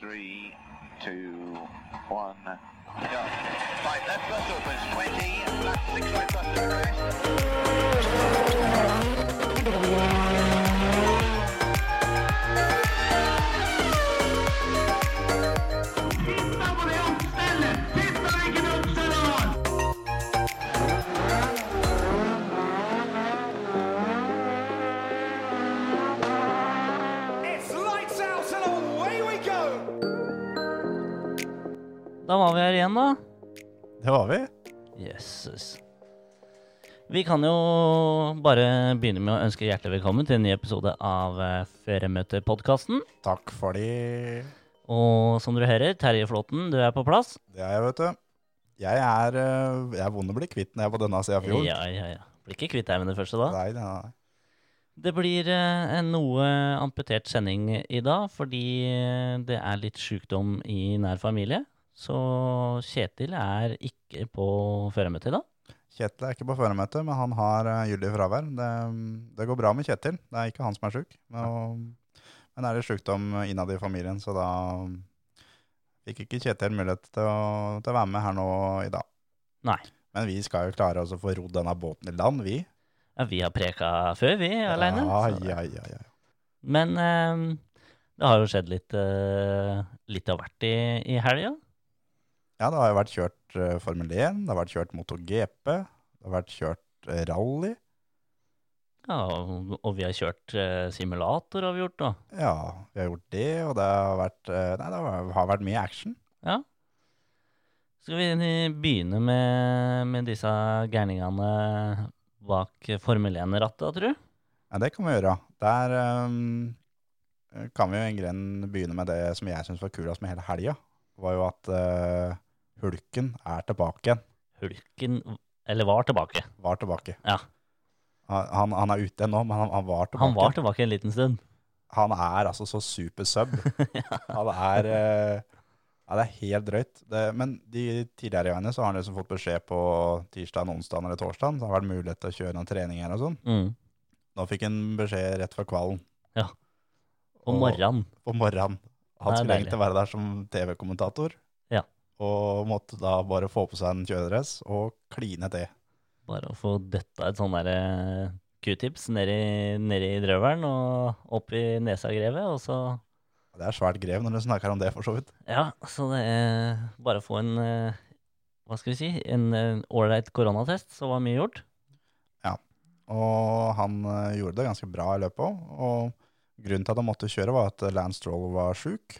Three, two, one, go. Right, left bus opens 20, left six right bus to crest. It's lights out and away we go! Da var vi her igjen, da. Det var vi. Jøsses. Vi kan jo bare begynne med å ønske hjertelig velkommen til en ny episode av eh, Feriemøtepodkasten. Takk for de. Og som dere hører, Terje Flåten, du er på plass. Det er jeg, vet du. Jeg er, eh, jeg er vond å bli kvitt når jeg er på denne sida av fjorden. Ja, ja, ja. Blir ikke kvitt deg med det første, da. Nei, nei, nei. Det blir eh, en noe amputert sending i dag, fordi eh, det er litt sjukdom i nær familie. Så Kjetil er ikke på førermøte i dag. Kjetil er ikke på førermøte, men han har eh, gyldig fravær. Det, mm, det går bra med Kjetil. Det er ikke han som er sjuk. Men, og, men er det sjukdom innad i familien, så da mm, fikk ikke Kjetil mulighet til å, til å være med her nå i dag. Nei. Men vi skal jo klare oss å få rodd denne båten i land, vi. Ja, vi har preka før, vi, aleine. Ja, ja, ja, ja. Men eh, det har jo skjedd litt, eh, litt av hvert i, i helga. Ja, det har jo vært kjørt eh, Formel 1, det har vært kjørt MotoGP, det har vært kjørt eh, rally. Ja, og, og vi har kjørt eh, simulator, har vi gjort. da. Ja, vi har gjort det, og det har vært, eh, nei, det har- har vært mye action. Skal vi ni- begynne med, med disse gærningene bak Formel 1-rattet, tror du? Ja, det kan vi gjøre. Der eh, kan vi jo en gren begynne med det som jeg synes var kulest med hele helga, var jo at eh, Hulken er tilbake igjen, Hulken Eller var tilbake. var tilbake. Ja. Han, han er ute nå, men han, han var tilbake. Han var tilbake en liten stund. han er altså så super sub. Han er eh, Ja, det er helt drøyt. Det, men de tidligere gangene så har han liksom fått beskjed på tirsdag, onsdag eller torsdag. Så har det vært mulighet til å kjøre noen treninger og sånn. Mm. Nå fikk han beskjed rett før kvalen Om morgenen. på morgenen. Han Det er skulle deilig. egentlig være der som TV-kommentator. Ja. Og måtte da bare få på seg en kjøredress og kline til. Bare å få døtta et sånn derre q-tips nedi, nedi drøvelen og opp i nesa grevet, og så Det er svært grev når du snakker om det, for så vidt. Ja, så det er bare å få en eh, Hva skal vi si? En eh, ålreit koronatest, så var mye gjort. Og han eh, gjorde det ganske bra i løpet òg. Og grunnen til at han måtte kjøre, var at Lance Stroll var sjuk.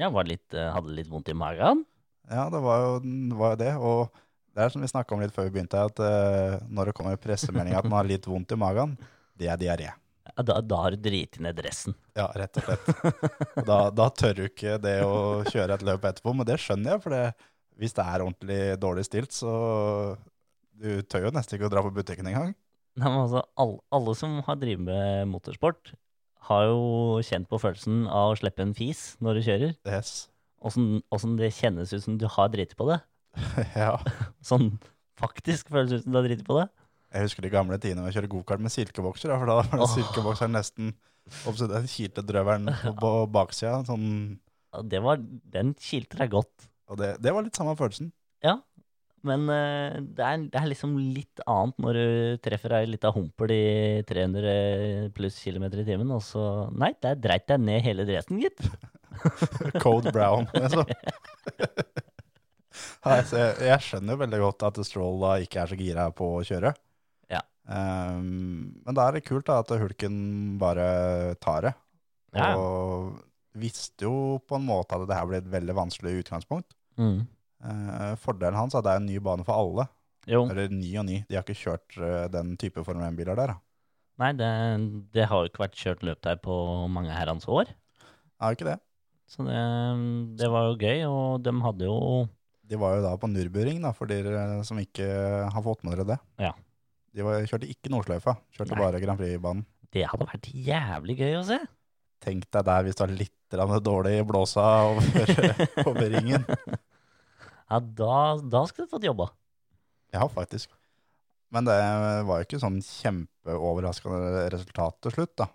Jeg var litt, eh, hadde litt vondt i magen. Ja, det var jo det. Var jo det. Og det er som vi snakka om litt før vi begynte, at eh, når det kommer pressemelding at man har litt vondt i magen, det er diaré. Ja, Da, da har du driti ned dressen. Ja, rett og slett. Og Da, da tør du ikke det å kjøre et løp etterpå, men det skjønner jeg, for det, hvis det er ordentlig dårlig stilt, så du tør jo nesten ikke å dra på butikken engang. Nei, men altså, alle, alle som har drevet med motorsport, har jo kjent på følelsen av å slippe en fis når du kjører. Yes. Åssen åssen det kjennes ut som du har driti på det. Ja. Sånn faktisk føles ut som du har driti på det. Jeg husker de gamle tidene med å kjøre gokart med silkebokser. da, For da var det Åh. silkebokseren nesten oppsett den kilte drøveren på, på baksida. Sånn, Ja, Det var, den kilte deg godt. og det, det var litt samme følelsen. Men eh, det, er, det er liksom litt annet når du treffer ei lita humpel i 300 pluss kilometer i timen, og så Nei, der dreit jeg ned hele dressen, gitt. Code brown, liksom. Nei, så jeg, jeg skjønner jo veldig godt at Stroll da ikke er så gira på å kjøre. Ja. Ehm, men da er det kult da at Hulken bare tar det. Ja. Og visste jo på en måte at det her ble et veldig vanskelig utgangspunkt. Mm. Eh, fordelen hans er at det er en ny bane for alle. Jo. Eller ny og ny. De har ikke kjørt eh, den type Formel 1-biler der. da. Nei, det, det har jo ikke vært kjørt løp der på mange herrens år. Er jo ikke det. Så det, det var jo gøy, og de hadde jo De var jo da på Nürburgring, da, for dere som ikke har fått med dere det. Ja. De var, kjørte ikke Nordsløyfa, kjørte Nei. bare Grand Prix-banen. Det hadde vært jævlig gøy å se. Tenk deg der hvis du har litt grann dårlig i blåsa over, over ringen. Ja, da, da skulle du fått jobba. Ja, faktisk. Men det var jo ikke sånn kjempeoverraskende resultat til slutt, da.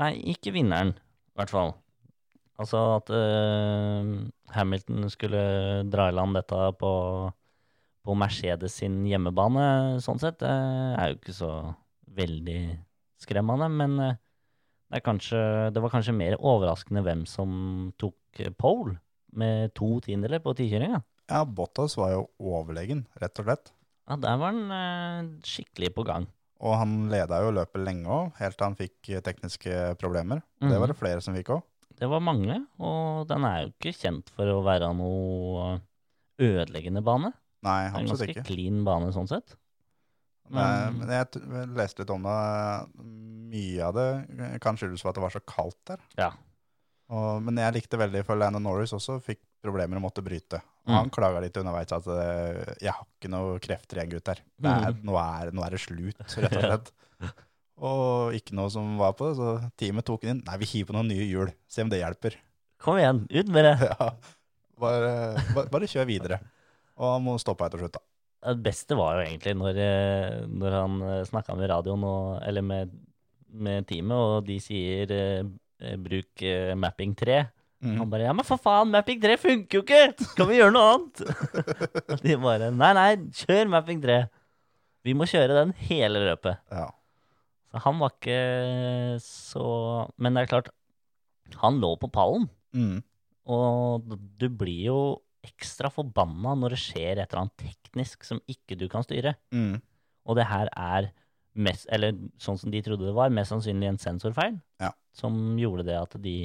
Nei, ikke vinneren, i hvert fall. Altså at eh, Hamilton skulle dra i land dette på, på Mercedes sin hjemmebane, sånn sett, det er jo ikke så veldig skremmende. Men eh, det, er kanskje, det var kanskje mer overraskende hvem som tok pole med to tiendeler på tikjøringa. Ja, Bottas var jo overlegen, rett og slett. Ja, der var han eh, skikkelig på gang. Og han leda jo løpet lenge òg, helt til han fikk eh, tekniske problemer. Det Mhm. var det flere som fikk òg. Mm, Det var mange, og den er jo ikke kjent for å være noe ødeleggende bane. Nei, Det er en absolutt ganske ikke. clean bane sånn sett. Nei, Men- Men jeg t- leste litt om det. eh, Mye av det eh, kan skyldes for at det var så kaldt der. Ja. Og, men jeg likte veldig for Landon Norris også, fikk problemer og måtte bryte. Og Mm. Han klaga litt underveis at eh, 'jeg har ikke noe krefter igjen, gutter'. Det er, Mm. nå, er, nå er det slutt, rett og slett. Og ikke noe som var på det, så teamet tok den inn. Nei, vi hiver på noen nye hjul, se om det hjelper. Kom igjen, ut med det! Ja, bare, bare, bare kjør videre. Og han må stoppe etter slutt, da. Det beste var jo egentlig når, eh, når han snakka med radioen, og, eller med, med teamet, og de sier eh, eh, bruk eh, mapping 3. Mm. Han bare ja, men for faen, mapping 3 funker jo ikke! Skal vi gjøre noe annet? Og de bare nei, nei, kjør mapping 3. Vi må kjøre den hele løpet. Ja. Så han var ikke så Men det er klart, han lå på pallen. Mm. Og d- du blir jo ekstra forbanna når det skjer et eller annet teknisk som ikke du kan styre. Mm. Og det her er mest, eller sånn som de trodde det var, mest sannsynlig en sensorfeil. Ja. Som gjorde det at de,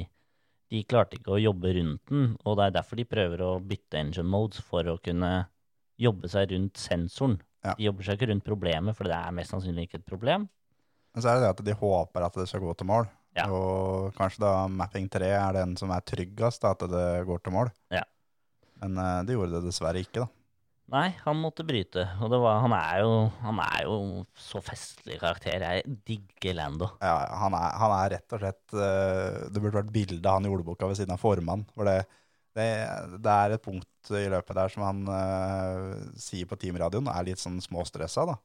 de klarte ikke å jobbe rundt den. Og det er derfor de prøver å bytte engine modes for å kunne jobbe seg rundt sensoren. Ja. De jobber seg ikke rundt problemet, for det er mest sannsynlig ikke et problem. Men så er det det at de håper at det skal gå til mål. Ja. Og kanskje da mapping 3 er den som er tryggest, da, at det går til mål. Ja. Men eh, de gjorde det dessverre ikke, da. Nei, han måtte bryte. Og det var, han, er jo, han er jo så festlig karakter. Jeg digger Lando. Ja, han, er, han er rett og slett eh, Det burde vært bilde av han i ordboka ved siden av formann. For det, det, det er et punkt i løpet der som han eh, sier på teamradioen er litt sånn småstressa. da.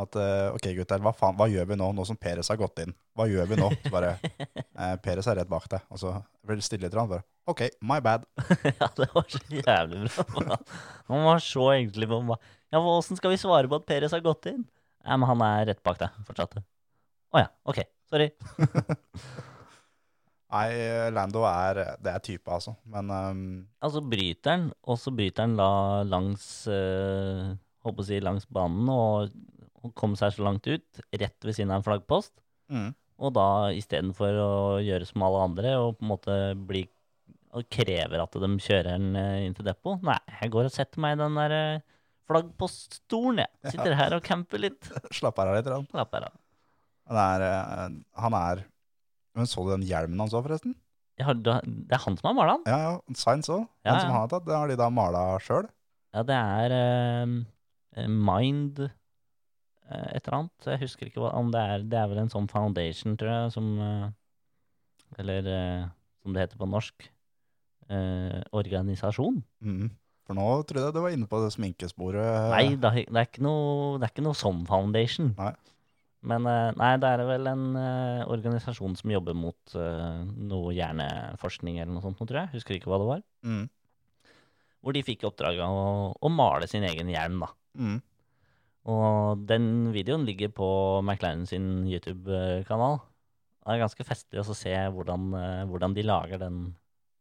At eh, ok, gutter, hva, faen, hva gjør vi nå, nå som Peres har gått inn? Hva gjør vi nå? Så bare, eh, Peres er rett bak deg. Og så blir det stille til han bare OK, my bad. ja, det var så jævlig bra. for han- Han var så egentlig på meg. Ja, hva- Åssen skal vi svare på at Peres har gått inn? Ja, men han er rett bak deg, fortsatte. Å ja, ok. Sorry. Nei, Lando er, det er type, altså. Men ehm, Altså bryter han, og så bryter han la langs eh, Håper å si langs banen og, og kom seg så langt ut, rett ved siden av en flaggpost. mm. Og da istedenfor å gjøre som alle andre og på en måte bli og krever at de kjører den eh, inn til depot. Nei, jeg går og setter meg i den der eh, flaggpoststolen, jeg. Sitter her og camper litt. slapp av her litt. Rann. Slapper av. Han er, eh, han er Men så du den hjelmen han så, forresten? Jeg har, du har- det er han som har mala den. Ja, ja. Science òg. Ja, Den som ja. han har tatt, den har de da mala sjøl. Ja, det er eh, Mind eh, et eller annet. Jeg husker ikke hva om det er. Det er vel en sånn foundation, tror jeg, som eh, Eller eh, som det heter på norsk. eh, organisasjon. Mm. For nå trodde jeg du var inne på det sminkesporet. Nei, det er, det er ikke noe, det er ikke noe sånn foundation. Eh. Nei. Men eh, nei, det er vel en eh, organisasjon som jobber mot eh, noe hjerneforskning eller noe sånt, nå, tror jeg. Husker ikke hva det var. Mm. Hvor de fikk i oppdrag av å, å male sin egen hjelm, da. Mm. Og den videoen ligger på McLaren sin YouTube-kanal. Det er ganske festlig også å se hvordan, eh, hvordan de lager den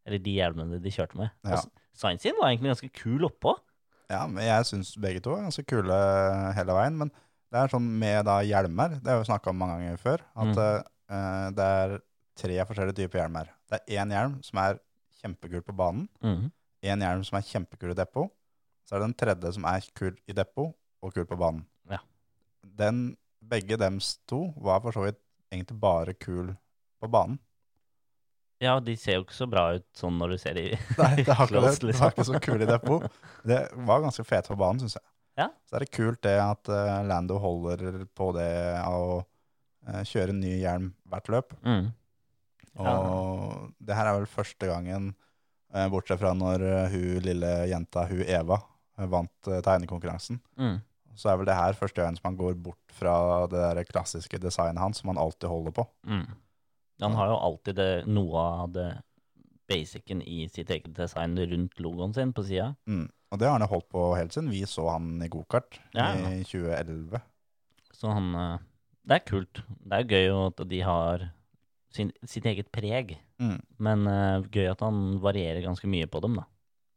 Eller de hjelmene de kjørte med. Ja. Og Signs sin var egentlig ganske kul oppå. Ja, men jeg syns begge to er ganske kule hele veien. Men det er sånn med da hjelmer, det har vi snakka om mange ganger før, Mm. at eh, det er tre forskjellige typer hjelmer. Det er én hjelm som er kjempekul på banen. Mhm. en hjelm som er kjempekul i depot, så er det en tredje som er kul i depot og kul på banen. Ja. Den, begge dems to var for så vidt egentlig bare kul på banen. Ja, de ser jo ikke så bra ut sånn når du ser de Nei, det var ikke, det, Close, det liksom. var ikke så kul i depot. Det var ganske fet på banen, synes jeg. Ja. Så er det kult det at eh, Lando holder på det av å eh, kjøre en ny hjelm hvert løp. mm. Og Ja. det her er vel første gangen, eh, bortsett fra når eh, hun lille jenta, hun Eva, eh, vant eh, tegnekonkurransen. Mm. så er vel det her første gangen som han går bort fra det der klassiske designet hans, som han alltid holder på. Mm. Han har jo alltid det, noe av det basicen i sitt eget design rundt logoen sin på sida. Mm. Og det har han jo holdt på helt siden vi så han i gokart Ja, ja. i 2011. Så han eh, Det er kult. Det er gøy at de har sin, sitt eget preg. Mm. Men eh, gøy at han varierer ganske mye på dem, da.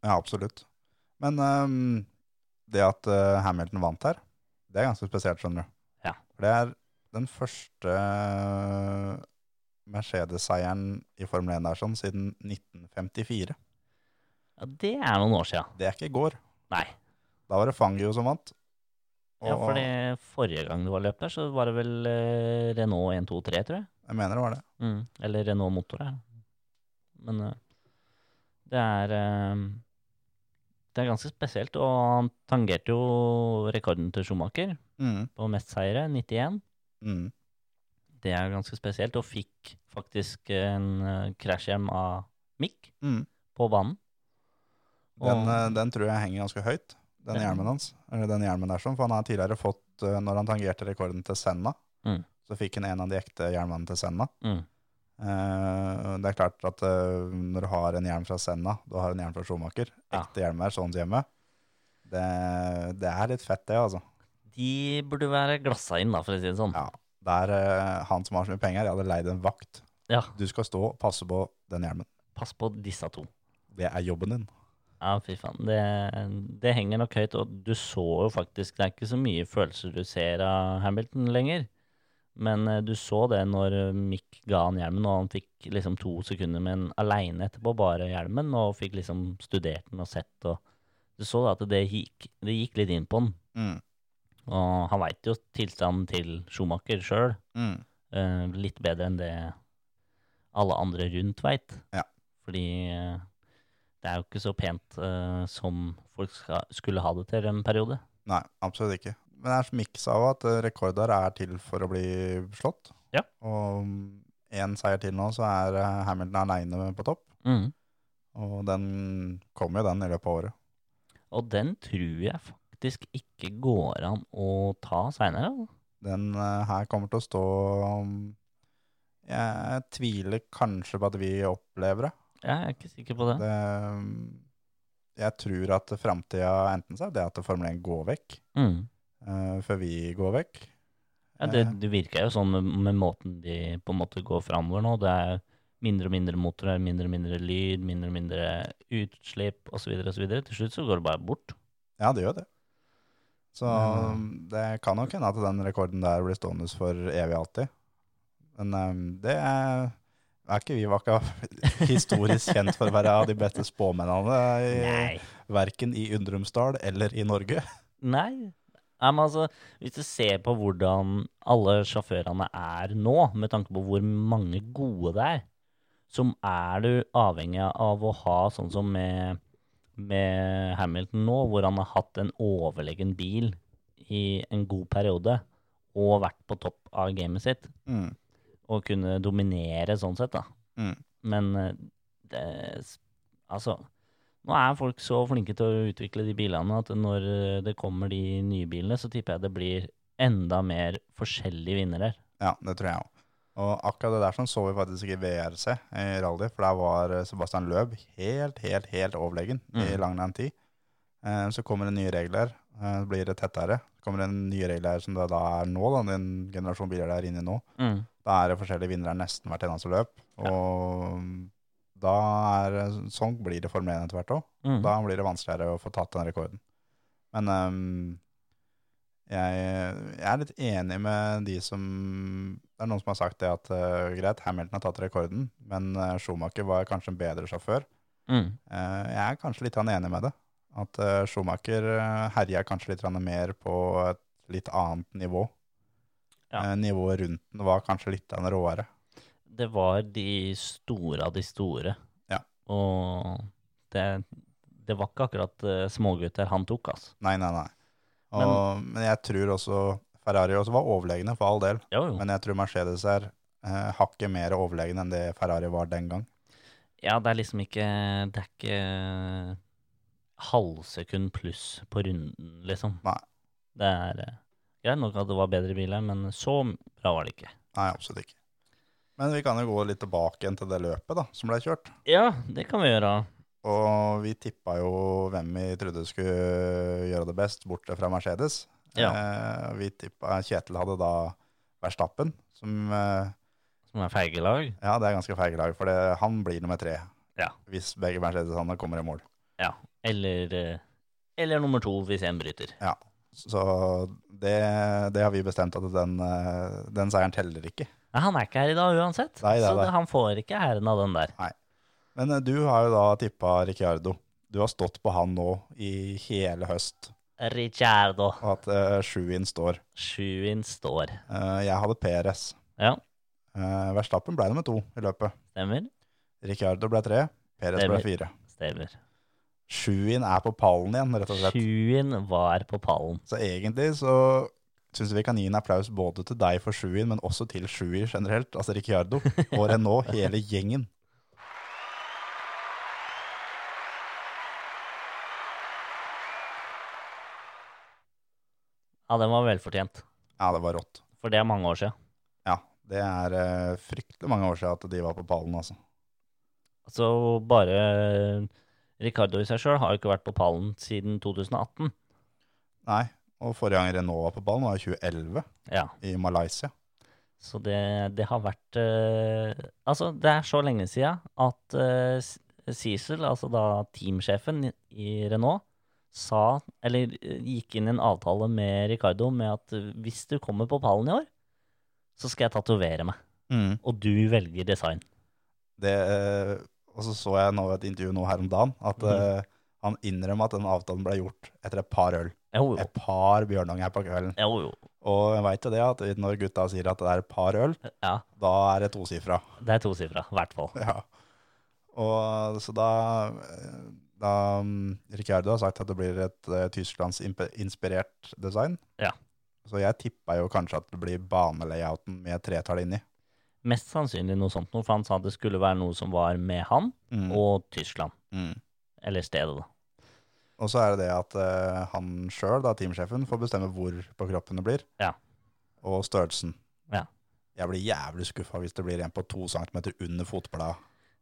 Ja, absolutt. Men ehm, det at eh, Hamilton vant her, det er ganske spesielt, skjønner du. Ja. For det er den første eh, Mercedes-seieren i Formel 1 der, sånn, siden 1954. Ja, det er noen år sia. Det er ikke i går. Nei. Da var det Fangio som vant. Og Ja, for det forrige gang det var løp der, så var det vel eh, Renault 123, tror jeg. jeg mener det var det. Mm. Eller Renault Motor, ja. Men eh, det er eh, Det er ganske spesielt, og han tangerte jo rekorden til Schumacher Mm. på mest seire, 91. Mm. Det er ganske spesielt, og fikk faktisk en eh, krasjhjem av Mick Mm. på banen. Den, Og- eh, den tror jeg henger ganske høyt, den Ja. hjelmen hans. Eller den hjelmen der, sånn, for han har tidligere fått, eh, når han tangerte rekorden til Senna, Mm. så fikk han en av de ekte hjelmene til Senna. Mm. Eh, det er klart at eh, når du har en hjelm fra Senna, du har en hjelm fra Schumacher, Ja. ekte hjelmer, sånn hjemme, det, det er litt fett det, altså. De burde være glassa inn, da, for å si det sånn. Ja. Det er eh, han som har så mye penger, jeg hadde leid en vakt. Ja, Du skal stå og passe på den hjelmen. pass på disse to. Det er jobben din. Ja, fy faen. Det, det henger nok høyt, og du så jo faktisk Det er ikke så mye følelser du ser av Hamilton lenger. Men eh, du så det når eh, Mick ga han hjelmen, og han fikk liksom to sekunder med en aleine etterpå, bare hjelmen, og fikk liksom studert den og sett, og du så da at det gikk, det gikk litt inn på han. Mm. Og han veit jo tilstanden til Schumacher sjøl, Mm. eh, litt bedre enn det alle andre rundt veit. Ja. Fordi eh, det er jo ikke så pent eh, som folk ska, skulle ha det til en periode. Nei, absolutt ikke. Men det er som Mick sa òg, at eh, rekorder er til for å bli slått. Ja. Og én seier til nå, så er eh, Hamilton aleine på topp. Mm. Og den kommer jo, den, i løpet av året. Og den tror jeg faktisk ikke går an å ta seinere. Den eh, her kommer til å stå um, Jeg tviler kanskje på at vi opplever det. Jeg er ikke sikker på det. det um, jeg tror at framtida enten så er det at Formel 1 går vekk Mm. eh, før vi går vekk. Ja, det, det virker jo sånn med, med måten de på en måte går framover nå. Det er mindre og mindre motorer, mindre og mindre lyd, mindre og mindre utslipp osv. Til slutt så går det bare bort. Ja, det gjør det. Så Ja. um, det kan nok hende at den rekorden der blir stående for evig alltid. Men um, det er, er ikke vi var ikke historisk kjent for å være av de beste spåmennene, i, Nei. verken i Undrumsdal eller i Norge. Nei. Nei, men altså, Hvis du ser på hvordan alle sjåførene er nå, med tanke på hvor mange gode det er, så er du avhengig av å ha sånn som med, med Hamilton nå, hvor han har hatt en overlegen bil i en god periode og vært på topp av gamet sitt Mm. og kunne dominere sånn sett, da. Mm. Men eh, det, s- altså Nå er folk så flinke til å utvikle de bilene at når eh, det kommer de nye bilene, så tipper jeg det blir enda mer forskjellige vinnere. Ja, det tror jeg òg. Og akkurat det der sånn så vi faktisk ikke i VRC i rally, for der var eh, Sebastian Løb helt, helt, helt overlegen i Mm. langrenn 10. Eh, Så kommer det nye regler, eh, så blir det tettere. Så kommer det nye regler som det da er nå, da, den generasjonen biler der inne nå. Da er det forskjellige vinnere nesten hvert eneste løp. Og da er det- sånn blir det Formel 1 etter hvert òg. Mm. Da blir det vanskeligere å få tatt den rekorden. Men ehm, jeg, jeg er litt enig med de som Det er noen som har sagt det at eh, greit, Hamilton har tatt rekorden, men eh, Schumacher var kanskje en bedre sjåfør. Mm. Eh, jeg er kanskje litt grann enig med det. At eh, Schumacher eh, herja kanskje litt grann mer på et litt annet nivå. Ja. Eh, nivået rundt den var kanskje litt grann råere. Det var de store av de store. Ja. Og det, det var ikke akkurat eh, smågutter han tok, altså. Nei, nei, nei. Og, men, jeg tror også Ferrari også var overlegne, for all del. Jo, jo. Men jeg tror Mercedes er eh, hakket mer overlegen enn det Ferrari var den gang. Ja, det er liksom ikke Det er ikke eh, halvsekund pluss på runden, liksom. Nei. Det er eh, greit nok at det var bedre biler, men så bra var det ikke. Nei, absolutt ikke. Men vi kan jo gå litt tilbake igjen til det løpet da, som ble kjørt. Ja, det kan vi gjøre. Og vi tippa jo hvem vi trodde skulle gjøre det best, borte fra Mercedes. Ja. Eh, vi tippa Kjetil hadde da Verstappen, som eh, Som er feigelag. Ja, det er ganske feil lag, for det, han blir nummer tre. Ja. Hvis begge Mercedesene kommer i mål. Ja. Eller, eh, eller nummer to, hvis en bryter. Ja. Så det, det har vi bestemt at den, eh, den seieren teller ikke. Nei, han er ikke her i dag uansett, Nei, det er så det. det, han får ikke æren av den der. Men eh, du har jo da tippa Ricciardo. Du har stått på han nå i hele høst, Ricciardo. og at eh, sjuin står. Sjuin står. Eh, jeg hadde Perez. Ja, Eh, Verstappen ble nummer to i løpet. stemmer. Ricciardo ble tre, Perez ble Stemmer. fire. Stemmer. Sjuin er på pallen igjen, rett og slett. Sjuin var på pallen. Så egentlig så syns vi kan gi en applaus både til deg for sjuin, men også til sjuer generelt. Altså Ricciardo og Renault, hele gjengen. Ja, den var velfortjent. Ja, det var rått. For det er mange år siden. Ja, det er eh, fryktelig mange år siden at de var på pallen, altså. Så Altså, bare eh, Ricardo i seg sjøl har jo ikke vært på pallen siden 2018. Nei, og forrige gang Renault var på ballen var i 2011 Ja, i Malaysia. så det, det har vært eh, Altså, det er så lenge siden at eh, S- Cecil, altså da teamsjefen i- i Renault, sa Eller eh, gikk inn i en avtale med Ricardo med at eh, hvis du kommer på pallen i år, så skal jeg tatovere meg. Og du velger design. Det, eh, og så så jeg nå et intervju nå her om dagen at Mhm. eh, han innrømmer at den avtalen ble gjort etter et par øl. Jo, jo. Et par bjørnanger på kvelden. jo, jo. Og jeg veit jo det at når gutta sier at det er et par øl, Ja, da er det tosifra. det er tosifra, i hvert fall. Ja. Og så da, eh, da mm, Ricciardo har sagt at det blir et eh, Tysklands-inspirert design. Ja. Så jeg tippa jo kanskje at det blir banelayouten med tretall inni. Mest sannsynlig noe sånt, noe, for han sa det skulle være noe som var med han Mm. og Tyskland. Mm. Eller stedet, da. Og så er det det at eh, han sjøl, teamsjefen, får bestemme hvor på kroppen det blir, Ja. og størrelsen. Ja. Jeg blir jævlig skuffa hvis det blir en på to centimeter under fotbladet.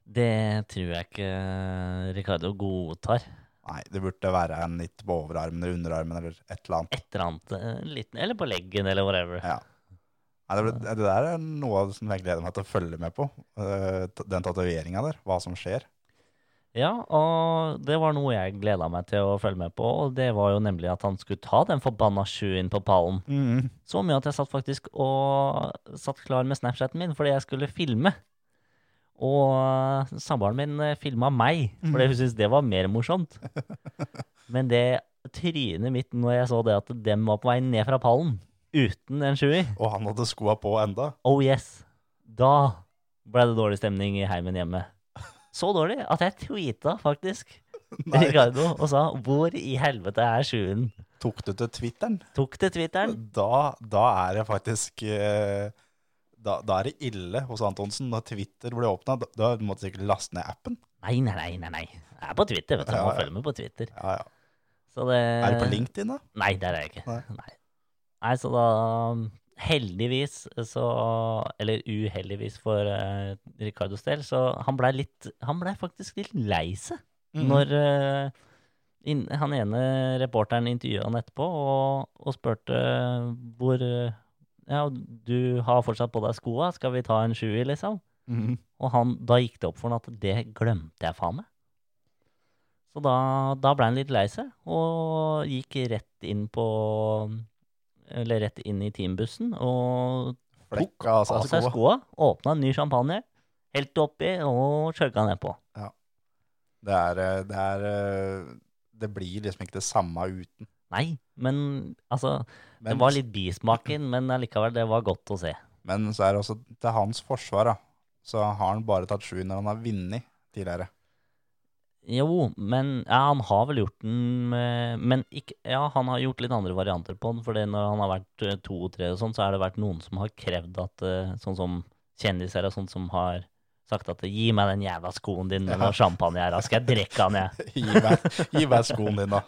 Det tror jeg ikke eh, Ricardo godtar. Nei, det burde være en litt på overarmen eller underarmen eller et eller annet. Et eller annet eh, liten Eller på leggen, eller whatever. Ja. Nei, det, ble, det der er noe av det som jeg gleder meg til å følge med på. eh, t- den tatoveringa der, hva som skjer. Ja, og det var noe jeg gleda meg til å følge med på, og det var jo nemlig at han skulle ta den forbanna sjuen på pallen. Så mye at jeg satt faktisk og satt klar med Snapchaten min fordi jeg skulle filme. Og samboeren min filma meg, fordi Mhm. hun syntes det var mer morsomt. Men det trynet mitt når jeg så det at dem var på vei ned fra pallen uten en sjuer Og han hadde skoa på enda. Oh yes. Da ble det dårlig stemning i heimen hjemme. Så dårlig at jeg tweeta faktisk Nei. Ricardo og sa 'Hvor i helvete er sjuen?' Tok du til Twitteren? Tok til Twitteren. Da, da er det faktisk eh, da, da er det ille hos Antonsen. Når Twitter ble åpna, da, da måtte du sikkert laste ned appen. Nei, nei, nei. nei, nei. Jeg er på Twitter, vet du. Ja, Man ja. følger med på Twitter. Ja, ja. Så det, Er det på LinkedIn, da? Nei, det er jeg ikke. Nei. Nei. Nei, så da um, Heldigvis så Eller uheldigvis for eh, Ricardos del, så han blei litt Han blei faktisk litt lei seg Mm. når eh, inn- han ene reporteren intervjua han etterpå og, og spurte hvor eh, Ja, du har fortsatt på deg skoa, skal vi ta en sjuer, liksom? Mhm. Og han, da gikk det opp for han at det glemte jeg faen meg. Så da, da ble han litt lei seg, og gikk rett inn på Eller rett inn i teambussen og Flekka av av seg seg skoa. skoa. Åpna en ny champagne, helt oppi og chugga nedpå. Det, er, eh, det, er, eh, det blir liksom ikke det samme uten. Nei, men altså Det Men- var litt bismaken, men allikevel, det var godt å se. Men så er det også til hans forsvar, da. Så har han bare tatt sju når han har vunnet tidligere. Jo, men ja, han har vel gjort den eh, Men ikke, ja, han har gjort litt andre varianter på den. For når han har vært eh, to og tre og sånn, så har det vært noen som har krevd at eh, Sånn som kjendiser og sånn som har sagt at 'gi meg den jævla skoen din med Ja. noe champagne her, da skal jeg drikke den, jeg'. Gi meg, gi meg skoen din, da.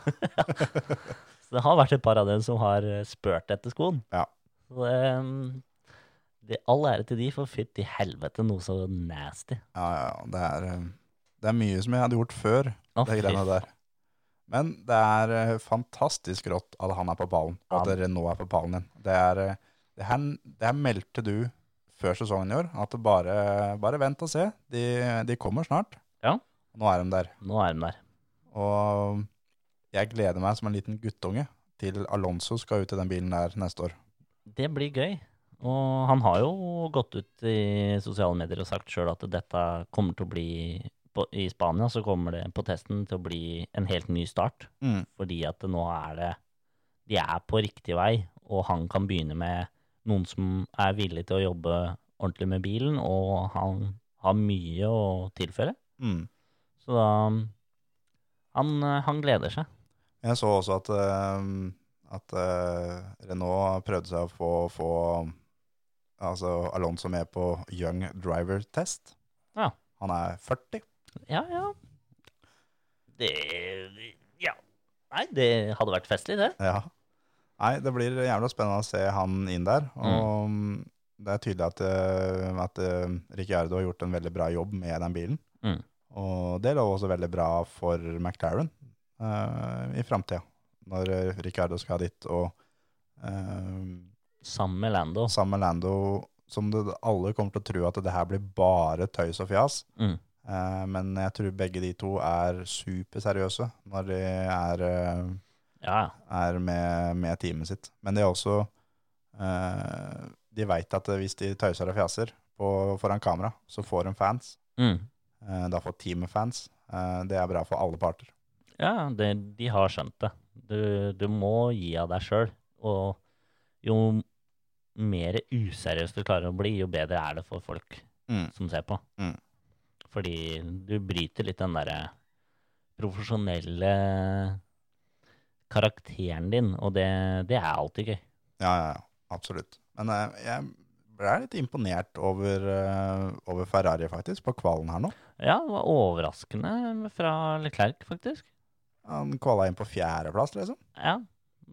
Så det har vært et par av dem som har eh, spurt etter skoen. Ja. Så det, eh, Det, all ære til de, for fytti helvete, noe så nasty. Ja, ja, ja. Det er, eh, det er mye som jeg hadde gjort før, Å, det fy greiene faen. der. Men det er eh, fantastisk rått at han er på ballen, og at Ja. dere nå er på ballen igjen. Det er, eh, det her, det her meldte du før sesongen i år, at det bare, bare vent og se. De, de kommer snart. Ja. Nå er de der. Nå er de der. Og jeg gleder meg som en liten guttunge til Alonso skal ut i den bilen der neste år. Det blir gøy. Og han har jo gått ut i sosiale medier og sagt sjøl at dette kommer til å bli på, I Spania så kommer det på testen til å bli en helt ny start. Fordi at nå er det De er på riktig vei, og han kan begynne med noen som er villig til å jobbe ordentlig med bilen, og han har mye å tilføre. Mm. Så da Han, eh, han gleder seg. Jeg så også at, eh, at eh, Renault prøvde seg å få, få altså Alonso med på Young Driver Test. Ja. Han er 40. Ja, ja. Det Ja. Nei, det hadde vært festlig, det. Ja. Nei, det blir jævla spennende å se han inn der. Mm. Og mm, det er tydelig at, eh, at eh, Ricciardo har gjort en veldig bra jobb med den bilen. Mm. Og det lå også veldig bra for McLaren eh, i framtida, når eh, Ricciardo skal dit og eh, Sammen med Lando. sammen med Lando, som det, alle kommer til å tro at det her blir bare tøys og fjas. Mm. Eh, men jeg tror begge de to er superseriøse når de er, eh, Ja, ja. er med, med teamet sitt. Men de er også eh, De veit at hvis de tøyser og fjaser på, foran kamera, så får de fans. Mm. Eh, da får teamet fans. Eh, det er bra for alle parter. Ja, det, de har skjønt det. Du, du må gi av deg sjøl. Og jo mer useriøs du klarer å bli, jo bedre er det for folk Mm. som ser på. Mm. Fordi du bryter litt den derre profesjonelle karakteren din, og det, det er alltid gøy. Ja, ja, ja. Absolutt. Men eh, jeg ble litt imponert over, eh, over Ferrari, faktisk, på kvalen her nå. Ja, det var overraskende fra Leclerc, faktisk. Han kvala inn på fjerdeplass, liksom. Ja.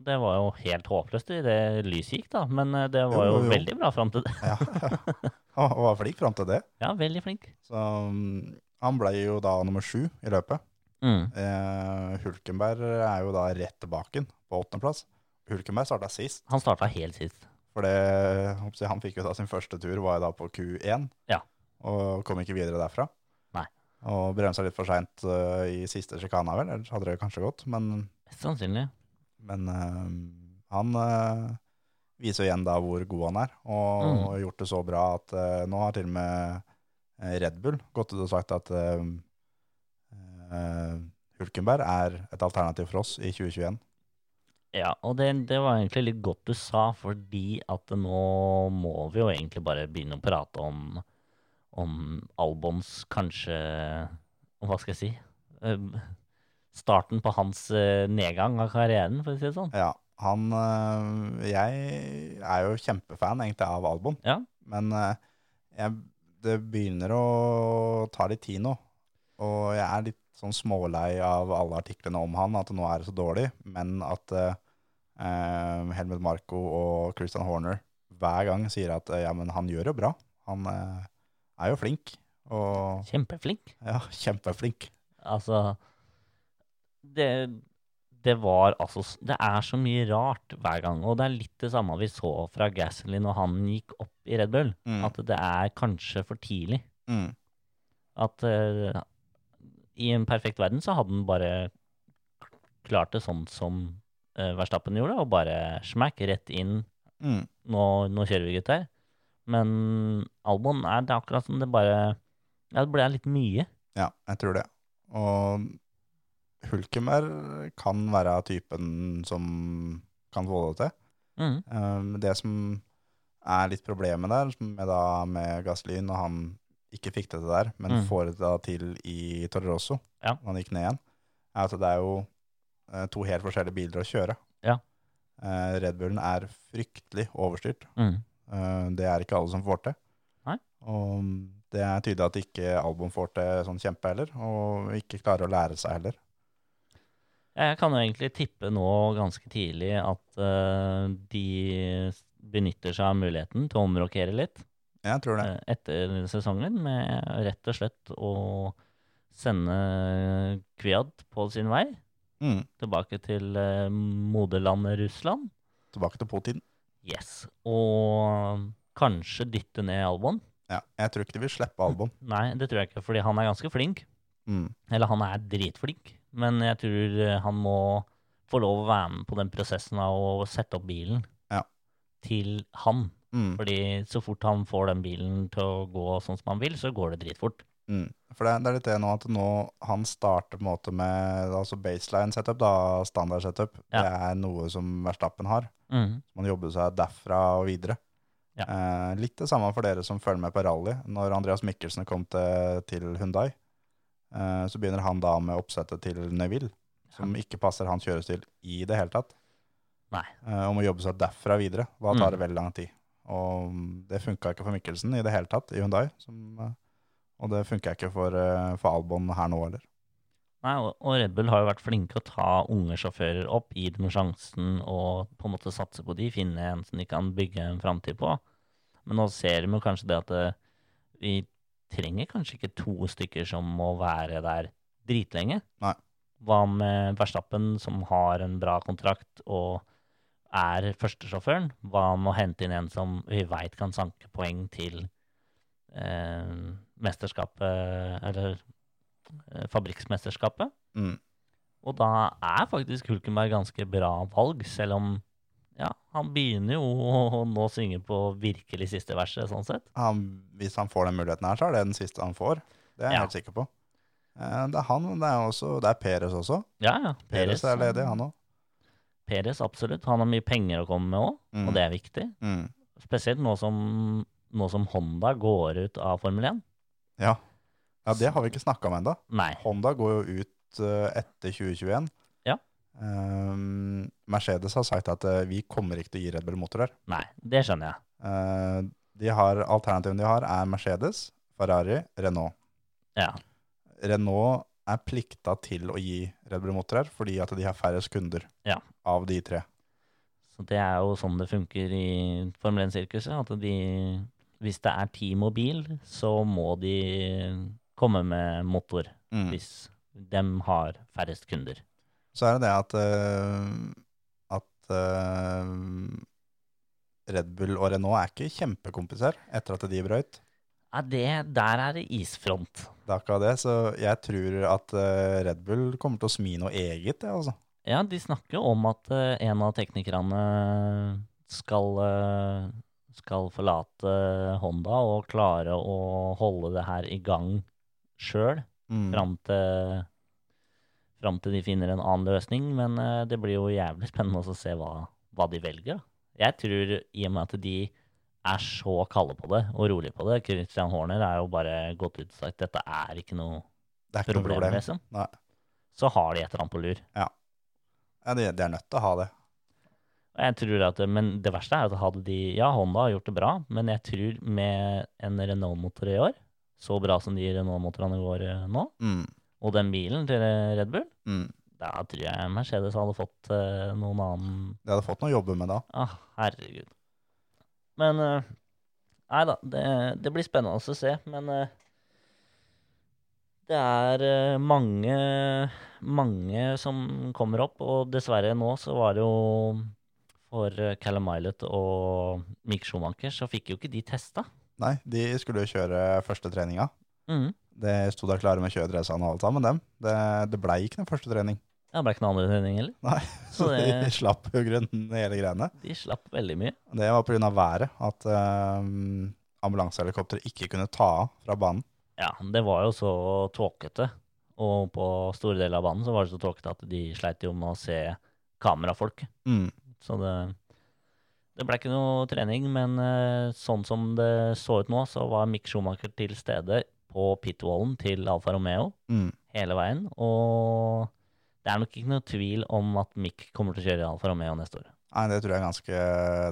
Det var jo helt håpløst i det lyset gikk, da. Men eh, det var Jo, jo, jo, jo. veldig bra fram til det. Ja. Han var flink fram til det. Ja, veldig flink. Så mm, han ble jo da nummer sju i løpet. Mm. Eh, Hulkenberg er jo da rett tilbake igjen, på åttendeplass. Hulkenberg starta sist, Han starta helt sist. for det, håper jeg, han fikk jo da sin første tur var jo da på Q1. Ja. Og kom ikke videre derfra. Nei. Og bremsa litt for seint i siste sjikana, vel. Ellers hadde det kanskje gått. Men, Mest sannsynlig. men eh, han eh, viser jo igjen da hvor god han er, og, Mm. og gjort det så bra at eh, nå har til og med eh, Red Bull gått ut og sagt at eh, eh, Hulkenberg er et alternativ for oss i 2021. Ja, og det, det var egentlig litt godt du sa, fordi at nå må vi jo egentlig bare begynne å prate om, om Albons kanskje Hva skal jeg si? Eh, Starten på hans eh, nedgang av karrieren, for å si det sånn. Ja, han eh, Jeg er jo kjempefan egentlig av Albon, Ja. men eh, jeg, det begynner å ta litt tid nå. Og jeg er litt sånn smålei av alle artiklene om han, at nå er det så dårlig, men at eh, eh, Helmut Marko og Christian Horner hver gang sier at eh, ja, men han gjør det bra. Han eh, er jo flink, og Kjempeflink. ja, kjempeflink. Altså det, det var altså s- Det er så mye rart hver gang. Og det er litt det samme vi så fra Gasly når han gikk opp i Red Bull. Mm. At det er kanskje for tidlig. Mm. At eh, i en perfekt verden så hadde han bare klart det sånn som uh, Verstappen gjorde, og bare smack rett inn. Mm. Nå, nå kjører vi, gutter. Men Albon er det er akkurat som det bare Ja, det ble litt mye. Ja, jeg tror det. Og Hulkenberg kan være typen som kan få det til. Mm. Um, Det som er litt problemet der, som med, da, med Gasly, når han ikke fikk det til der, men Mm. får det da til i Toro Rosso, Ja. når han gikk ned igjen, er at det er jo eh, to helt forskjellige biler å kjøre. Ja. Eh, Red Bullen er fryktelig overstyrt. Mm. Eh, Det er ikke alle som får til. Nei. Og det er tydelig at ikke Albon får til sånn kjempe heller, og ikke klarer å lære seg heller. Jeg kan jo egentlig tippe nå ganske tidlig at eh, de benytter seg av muligheten til å omrokere litt Jeg tror det. eh, etter sesongen med rett og slett å sende Kviad på sin vei Mm. tilbake til eh, moderlandet Russland. Tilbake til Putin. Yes. Og kanskje dytte ned Albon. Ja, jeg tror ikke de vil slippe Albon. Nei, det tror jeg ikke, fordi han er ganske flink. Mm. Eller han er dritflink, men jeg tror eh, han må få lov å være med på den prosessen av å sette opp bilen Ja. til han. Mm. Fordi så fort han får den bilen til å gå sånn som han vil, så går det dritfort. Mm. For det, det er litt det nå at nå han starter på en måte med altså baseline setup, da, standard setup. Ja. Det er noe som Verstappen har. Man jobber seg derfra og videre. Ja. Eh, litt det samme for dere som følger med på rally. Når Andreas Mikkelsen kom til, til Hundai, eh, så begynner han da med oppsettet til Neville, som ikke passer hans kjørestil i det hele tatt. Nei. Eh, om å jobbe seg derfra videre. Da Mm. tar det veldig lang tid. Og det funka ikke for Mikkelsen i det hele tatt i Hundai. Som, eh, og det funka ikke for, eh, for Albon her nå heller. Nei, og- og Red Bull har jo vært flinke å ta unge sjåfører opp, gi dem sjansen og på en måte satse på de, finne en som de kan bygge en framtid på. Men nå ser de jo kanskje det at eh, vi trenger kanskje ikke to stykker som må være der dritlenge. Nei. Hva med Verstappen, som har en bra kontrakt og er førstesjåføren? Hva med å hente inn en som vi veit kan sanke poeng til eh, mesterskapet, eller eh, fabrikksmesterskapet. Mm. Og da er faktisk Hulkenberg ganske bra valg, selv om ja, han begynner jo å nå synge på virkelig siste verset, sånn sett. Han, hvis han får den muligheten her, så er det den siste han får. Det er jeg Ja. helt sikker på. Eh, det er han, men det er, også, det er Peres også. Ja, ja. Peres er ledig, han òg. Perez, absolutt. Han har mye penger å komme med òg, Mm. og det er viktig. Mm. Spesielt nå som, nå som Honda går ut av Formel 1. Ja. ja, det har vi ikke snakka om ennå. Nei. Honda går jo ut eh, etter 2021. Ja. Ehm, Mercedes har sagt at eh, vi kommer ikke til å gi Red Bull motorer. Nei, det skjønner jeg. Eh, de har, alternativene de har, er Mercedes, Ferrari, Renault. Ja. Renault er plikta til å gi Red Bull motorer fordi at de har færrest kunder Ja. av de tre. Så det er jo sånn det funker i Formel 1-sirkuset, at de, hvis det er team og bil, så må de komme med motor Mm. hvis de har færrest kunder. Så er det det at, eh, at eh, Red Bull og Renault er ikke kjempekompiser etter at de brøyt. Ja, det, der er det isfront. Det er akkurat det, så jeg tror at eh, Red Bull kommer til å smi noe eget, ja, altså. Ja, de snakker jo om at eh, en av teknikerne skal, eh, skal forlate Honda og klare å holde det her i gang sjøl. Mm. fram til, fram til de finner en annen løsning. Men eh, det blir jo jævlig spennende også å se hva, hva de velger. da. Jeg tror i og med at de er så kalde på det og rolige på det Christian Horner er jo bare gått ut og sagt dette er ikke noe Det er ikke noe problem. problem. liksom. Nei. Så har de et eller annet på lur. Ja, de, de er nødt til å ha det. Og Jeg tror at, Men det verste er at hadde de Ja, Honda har gjort det bra, men jeg tror med en Renault-motor i år, så bra som de Renault-motorene går eh, nå, Mm. og den bilen til eh, Red Bull Mm. Da tror jeg Mercedes hadde fått eh, noen annen De hadde fått noe å jobbe med da. ah, Herregud. Men eh, Nei da, det, det blir spennende å se. Men eh, det er eh, mange, mange som kommer opp, og dessverre nå så var det jo for eh, Callum Milot og Mick Schumacher, så fikk jo ikke de testa. Nei, de skulle jo kjøre første treninga. Mhm. Det sto da klare med kjøredressene og alt sammen, dem. Det, det blei ikke den første trening. Ja, Det ble ikke noen andre trening heller. Nei, så Så de det- slapp jo grunnen hele greiene. De slapp veldig mye. Det var pga. været, at uh, ambulansehelikopteret ikke kunne ta av fra banen. Ja, det var jo så tåkete. Og på store deler av banen så var det så tåkete at de sleit jo med å se kamerafolk. Mm. Så det, det ble ikke noe trening, men eh, sånn som det så ut nå, så var Mick Schumacher til stede på pitwallen til Alfa Romeo Mm. hele veien. Og det er nok ikke noe tvil om at Mick kommer til å kjøre Alfa Romeo neste år. Nei, det tror jeg ganske,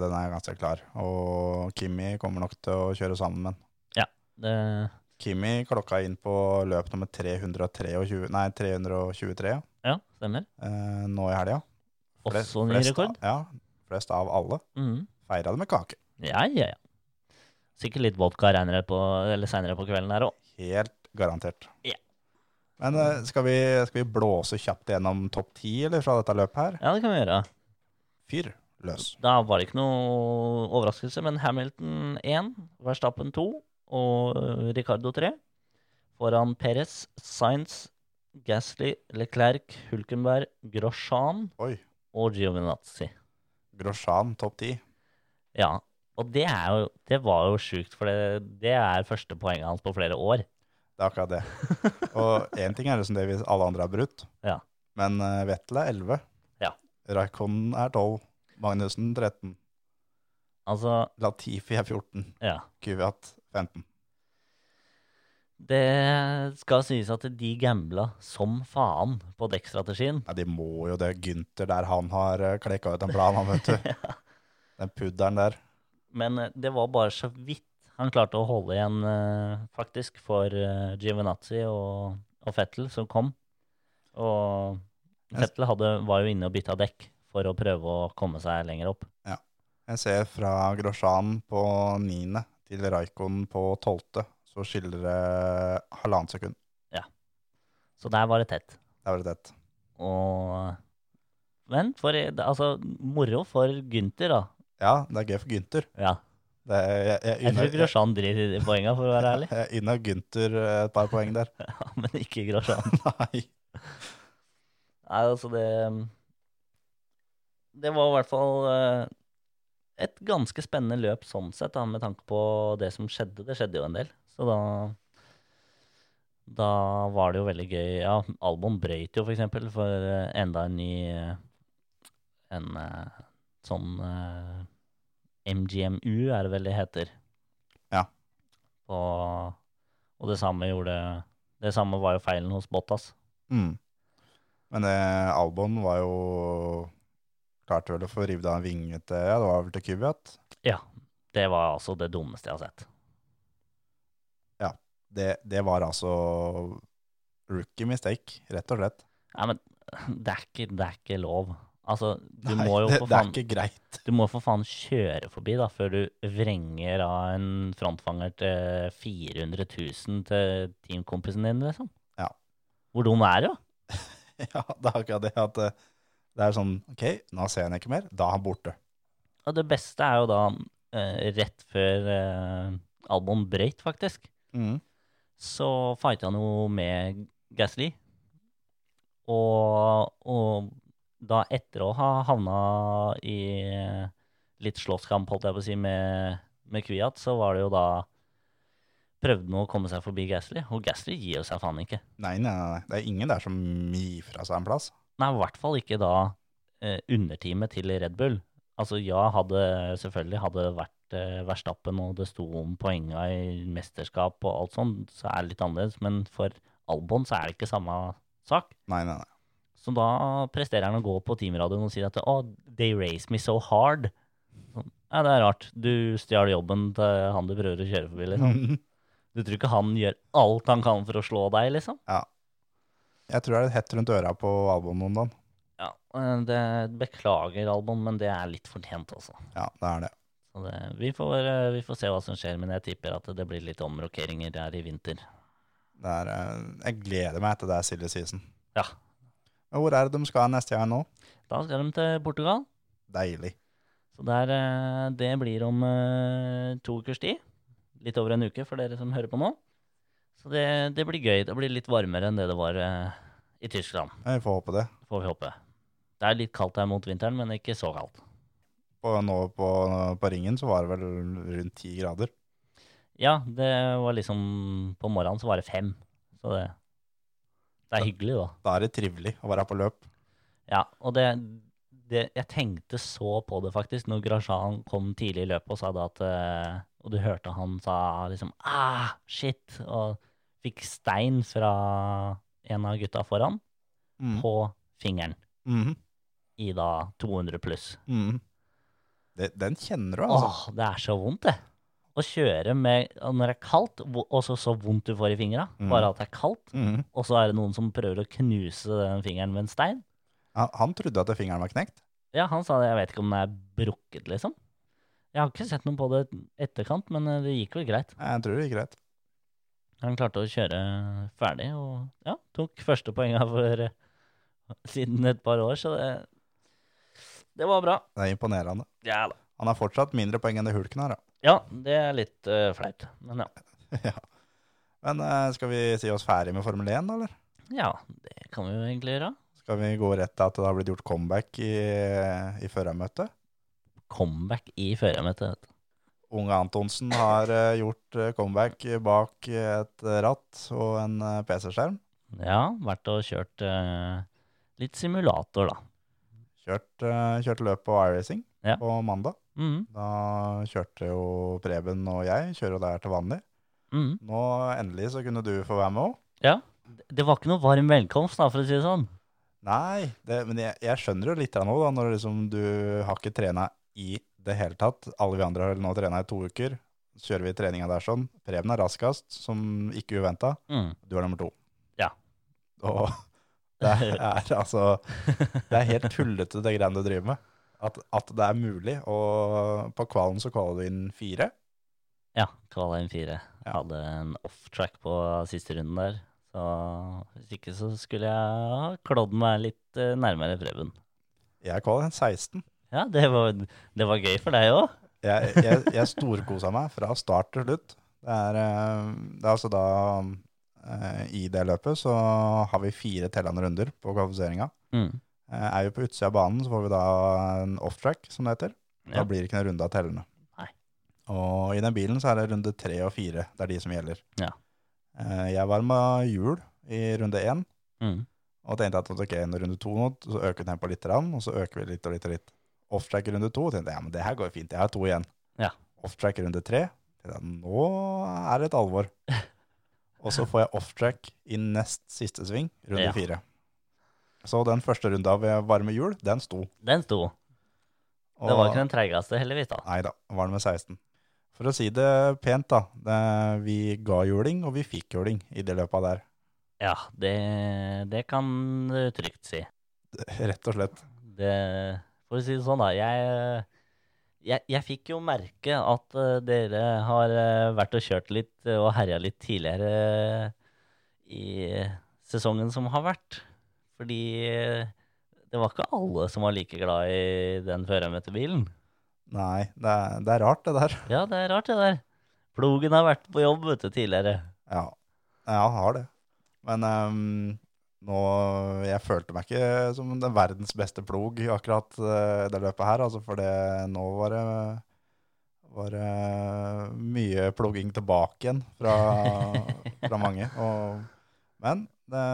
den er ganske klar. Og Kimi kommer nok til å kjøre sammen med den. Det, Kimi klokka inn på løp nummer 323, nei, 323 ja, stemmer. eh, nå i helga. Flest- Også ny flest rekord. Av, ja, flest av alle. Mhm. Feira det med kake. Ja, ja, ja. Sikkert litt vodka regner det på, eller senere på kvelden her òg. Helt garantert. Ja. Men eh, skal vi, skal vi blåse kjapt gjennom topp ti eller fra dette løpet her? Ja, det kan vi gjøre. Fyr løs. Da var det ikke noe overraskelse, men Hamilton 1, Verstappen 2 og eh, Ricardo 3. Foran Perez, Sainz, Gasly, Leclerc, Hulkenberg, Grosjean Oi. og Giovinazzi. Grosjan topp ti. Ja, og det, er jo, det var jo sjukt, for det, det er første poenget hans på flere år. Det er akkurat det. Og én ting er liksom det vi alle andre har brutt, Ja. men eh, Vettel er 11. Ja. Raikkonen er 12. Magnussen 13. Altså, Latifi er 14. ja. Kvyat 15. Det skal sies at de gambla som faen på dekkstrategien. Nei, de må jo det. Gynter der han har eh, klekka ut en plan, han, vet du. Den pudderen der. Men eh, det var bare så vidt han klarte å holde igjen, eh, faktisk, for eh, Giovinazzi og, og Fettel som kom. Og Jeg s- Fettel hadde, var jo inne og bytta dekk for å prøve å komme seg lenger opp. Jeg ser fra Grosjan på 9. til Raikkonen på 12., så skiller det eh, halvannet sekund. Så der var det tett. Det er veldig tett. Og Men for Altså, moro for Gynter, da. Ja, det er gøy for Gynter. Ja. Det er- Jeg, jeg, Jeg unner- tror Grosjean driter i de poenga, for å være ærlig. jeg unner Gynter eh, et par poeng der. Ja, men ikke Grosjean. Nei. Nei, altså det Det var i hvert fall eh, et ganske spennende løp sånn sett, da, med tanke på det som skjedde. Det skjedde jo en del, så da Da var det jo veldig gøy. Ja, Albon brøyt jo, for eksempel, for eh, enda en ny eh, En eh, sånn eh, MGMU, er det vel det heter. Ja. Og, og det samme gjorde Det samme var jo feilen hos Bottas. Mm. Men eh, Albon var jo Klarte vel å få revet av en vinge til Ja, det var vel til Kvyat. Ja, det var altså det dummeste jeg har sett. Det, det var altså rookie mistake, rett og slett. Nei, men det er ikke, det er ikke lov. Altså, du må jo det, for det er faen, ikke greit. du må for faen kjøre forbi da, før du vrenger av en frontfanger til 400 000 til teamkompisen din, liksom. Ja. Hvor dum er du? da? ja, det er akkurat det at eh, det er sånn OK, nå ser jeg han ikke mer. Da er han borte. Og det beste er jo da eh, rett før eh, Albon brøyt, faktisk. Mm. så fighta han jo med Gasly. Og, og da etter å ha havna i litt slåsskamp, holdt jeg på å si, med, med Kvyat, så var det jo da Prøvde han å komme seg forbi Gasly, og Gasly gir jo seg faen ikke. Nei, nei, nei, nei. Det er ingen der som gir fra seg en plass. Nei, i hvert fall ikke da eh, underteamet til Red Bull. Altså, ja, hadde selvfølgelig hadde det vært eh, Verstappen og det sto om poenga i mesterskap og alt sånt, så er det litt annerledes. Men for Albon så er det ikke samme sak. Nei, nei, nei. Så da presterer han å gå på teamradioen og si at «Å, they race me so hard. Sånn, ja, det er rart. Du stjal jobben til han du prøver å kjøre Mm. forbi, liksom. Du tror ikke han gjør alt han kan for å slå deg, liksom? Jeg tror det er litt hett rundt øra på Albon noen dager. Ja, eh, det beklager, Albon, men det er litt fortjent, altså. Ja, det er det. Så det, vi, får, eh, vi får se hva som skjer, men jeg tipper at det blir litt omrokeringer her i vinter. det er, eh, jeg gleder meg til det er silly season. Ja. Men hvor er det de skal neste gang nå? Da skal de til Portugal. Deilig. Så der, eh, det blir om eh, to ukers tid. Litt over en uke for dere som hører på nå. Så det, det blir gøy. Det blir litt varmere enn det det var eh, i Tyskland, Ja, Vi får håpe det. får vi håpe. Det er litt kaldt her mot vinteren, men ikke så kaldt. På, nå på, på ringen så var det vel rundt ti grader. Ja, det var liksom På morgenen så var det fem. Så det, det er hyggelig, da. Da er det trivelig å være på løp. Ja, og det, det Jeg tenkte så på det faktisk når Grasjan kom tidlig i løpet og sa det at eh, Og du hørte han sa liksom ah, shit, og fikk stein fra en av gutta foran Mm. på fingeren Mhm. i da 200 pluss. Mhm. Det, den kjenner du, altså. Åh, det er så vondt, det. Å kjøre med og når det er kaldt, hvor- og så så vondt du får i fingra. Mm. Bare at det er kaldt, Mhm. og så er det noen som prøver å knuse den fingeren med en stein. Han, han trodde at fingeren var knekt. Ja, han sa det. Jeg vet ikke om den er brukket, liksom. Jeg har ikke sett noe på det etterkant, men eh, det gikk vel greit. Jeg tror det gikk greit. Han klarte å kjøre ferdig og ja, tok første poenga for eh, siden et par år, så det, det var bra. Det er imponerende. Ja da. Han har fortsatt mindre poeng enn det Hulken har, da. Ja, det er litt eh, flaut, men ja. ja. Men eh, skal vi si oss ferdig med Formel 1, da, eller? ja. Det kan vi jo egentlig gjøre. Skal vi gå rett til at det har blitt gjort comeback i, i førermøtet? Comeback i førermøtet. vet du. Unge Antonsen har eh, gjort eh, comeback bak eh, et ratt og en eh, PC-skjerm. Ja, vært og kjørt eh, litt simulator, da. Kjørt, eh, kjørt løp på iRacing Ja. på mandag. Mm, Da kjørte jo Preben og jeg, kjører jo der til vanlig. mm. Nå endelig så kunne du få være med òg. Det var ikke noe varm velkomst, da, for å si det sånn. Nei, det, men jeg, jeg skjønner jo litt av nå, da, når liksom du har ikke trena i det hele tatt. Alle vi andre har nå trena i to uker. Så kjører vi treninga der sånn. Preben er raskest, som ikke uventa. Mm. Du er nummer to. Ja. Og det er altså Det er helt tullete, det greiene du driver med. At, at det er mulig. Og på kvalen så kvaler du inn fire. Ja, kvala inn fire. Ja. Hadde en off-track på siste runden der. Så hvis ikke så skulle jeg ha klådd meg litt eh, nærmere Preben. Jeg kvaler inn 16. Ja, det var, det var gøy for deg òg. Jeg, jeg, jeg storkosa meg fra start til slutt. Det er, eh, det er altså da eh, I det løpet så har vi fire tellende runder på kvalifiseringa. Mm. Eh, Er vi på utsida av banen, så får vi da en off-track, som det heter. Da Ja. blir det ikke noen runde av tellende. Nei. Og i den bilen så er det runde tre og fire. Det er de som gjelder. Ja. Eh, Jeg varma hjul i runde én, Mm. og tenkte at ok, når runde to nå, så øker tempoet litt, grann, og så øker vi litt og litt og litt. Off-track i runde to, tenkte jeg, ja, men det her går jo fint, jeg har to igjen. Ja. Off-track i runde tre, tenkte jeg, nå er det et alvor. Og så får jeg off-track i nest siste sving, runde Ja. fire. Så den første runda ved varme hjul, den sto. Den sto. Det var ikke den treigeste, heldigvis. da. Nei da, var det med 16. For å si det pent, da. Det, vi ga juling, og vi fikk juling i det løpet der. Ja, det, det kan du trygt si. Rett og slett. Det, for å si det sånn, da. Jeg, jeg, jeg fikk jo merke at eh, dere har eh, vært og kjørt litt eh, og herja litt tidligere eh, i sesongen som har vært. Fordi eh, det var ikke alle som var like glad i den førermøtebilen. Nei, det er, det er rart, det der. Ja, det er rart, det der. Plogen har vært på jobb vet du, tidligere. Ja, ja jeg har det. Men ehm, nå Jeg følte meg ikke som den verdens beste plog i akkurat eh, det løpet her, altså, for det, nå var det var det mye ploging tilbake igjen fra, fra mange. Og, men det,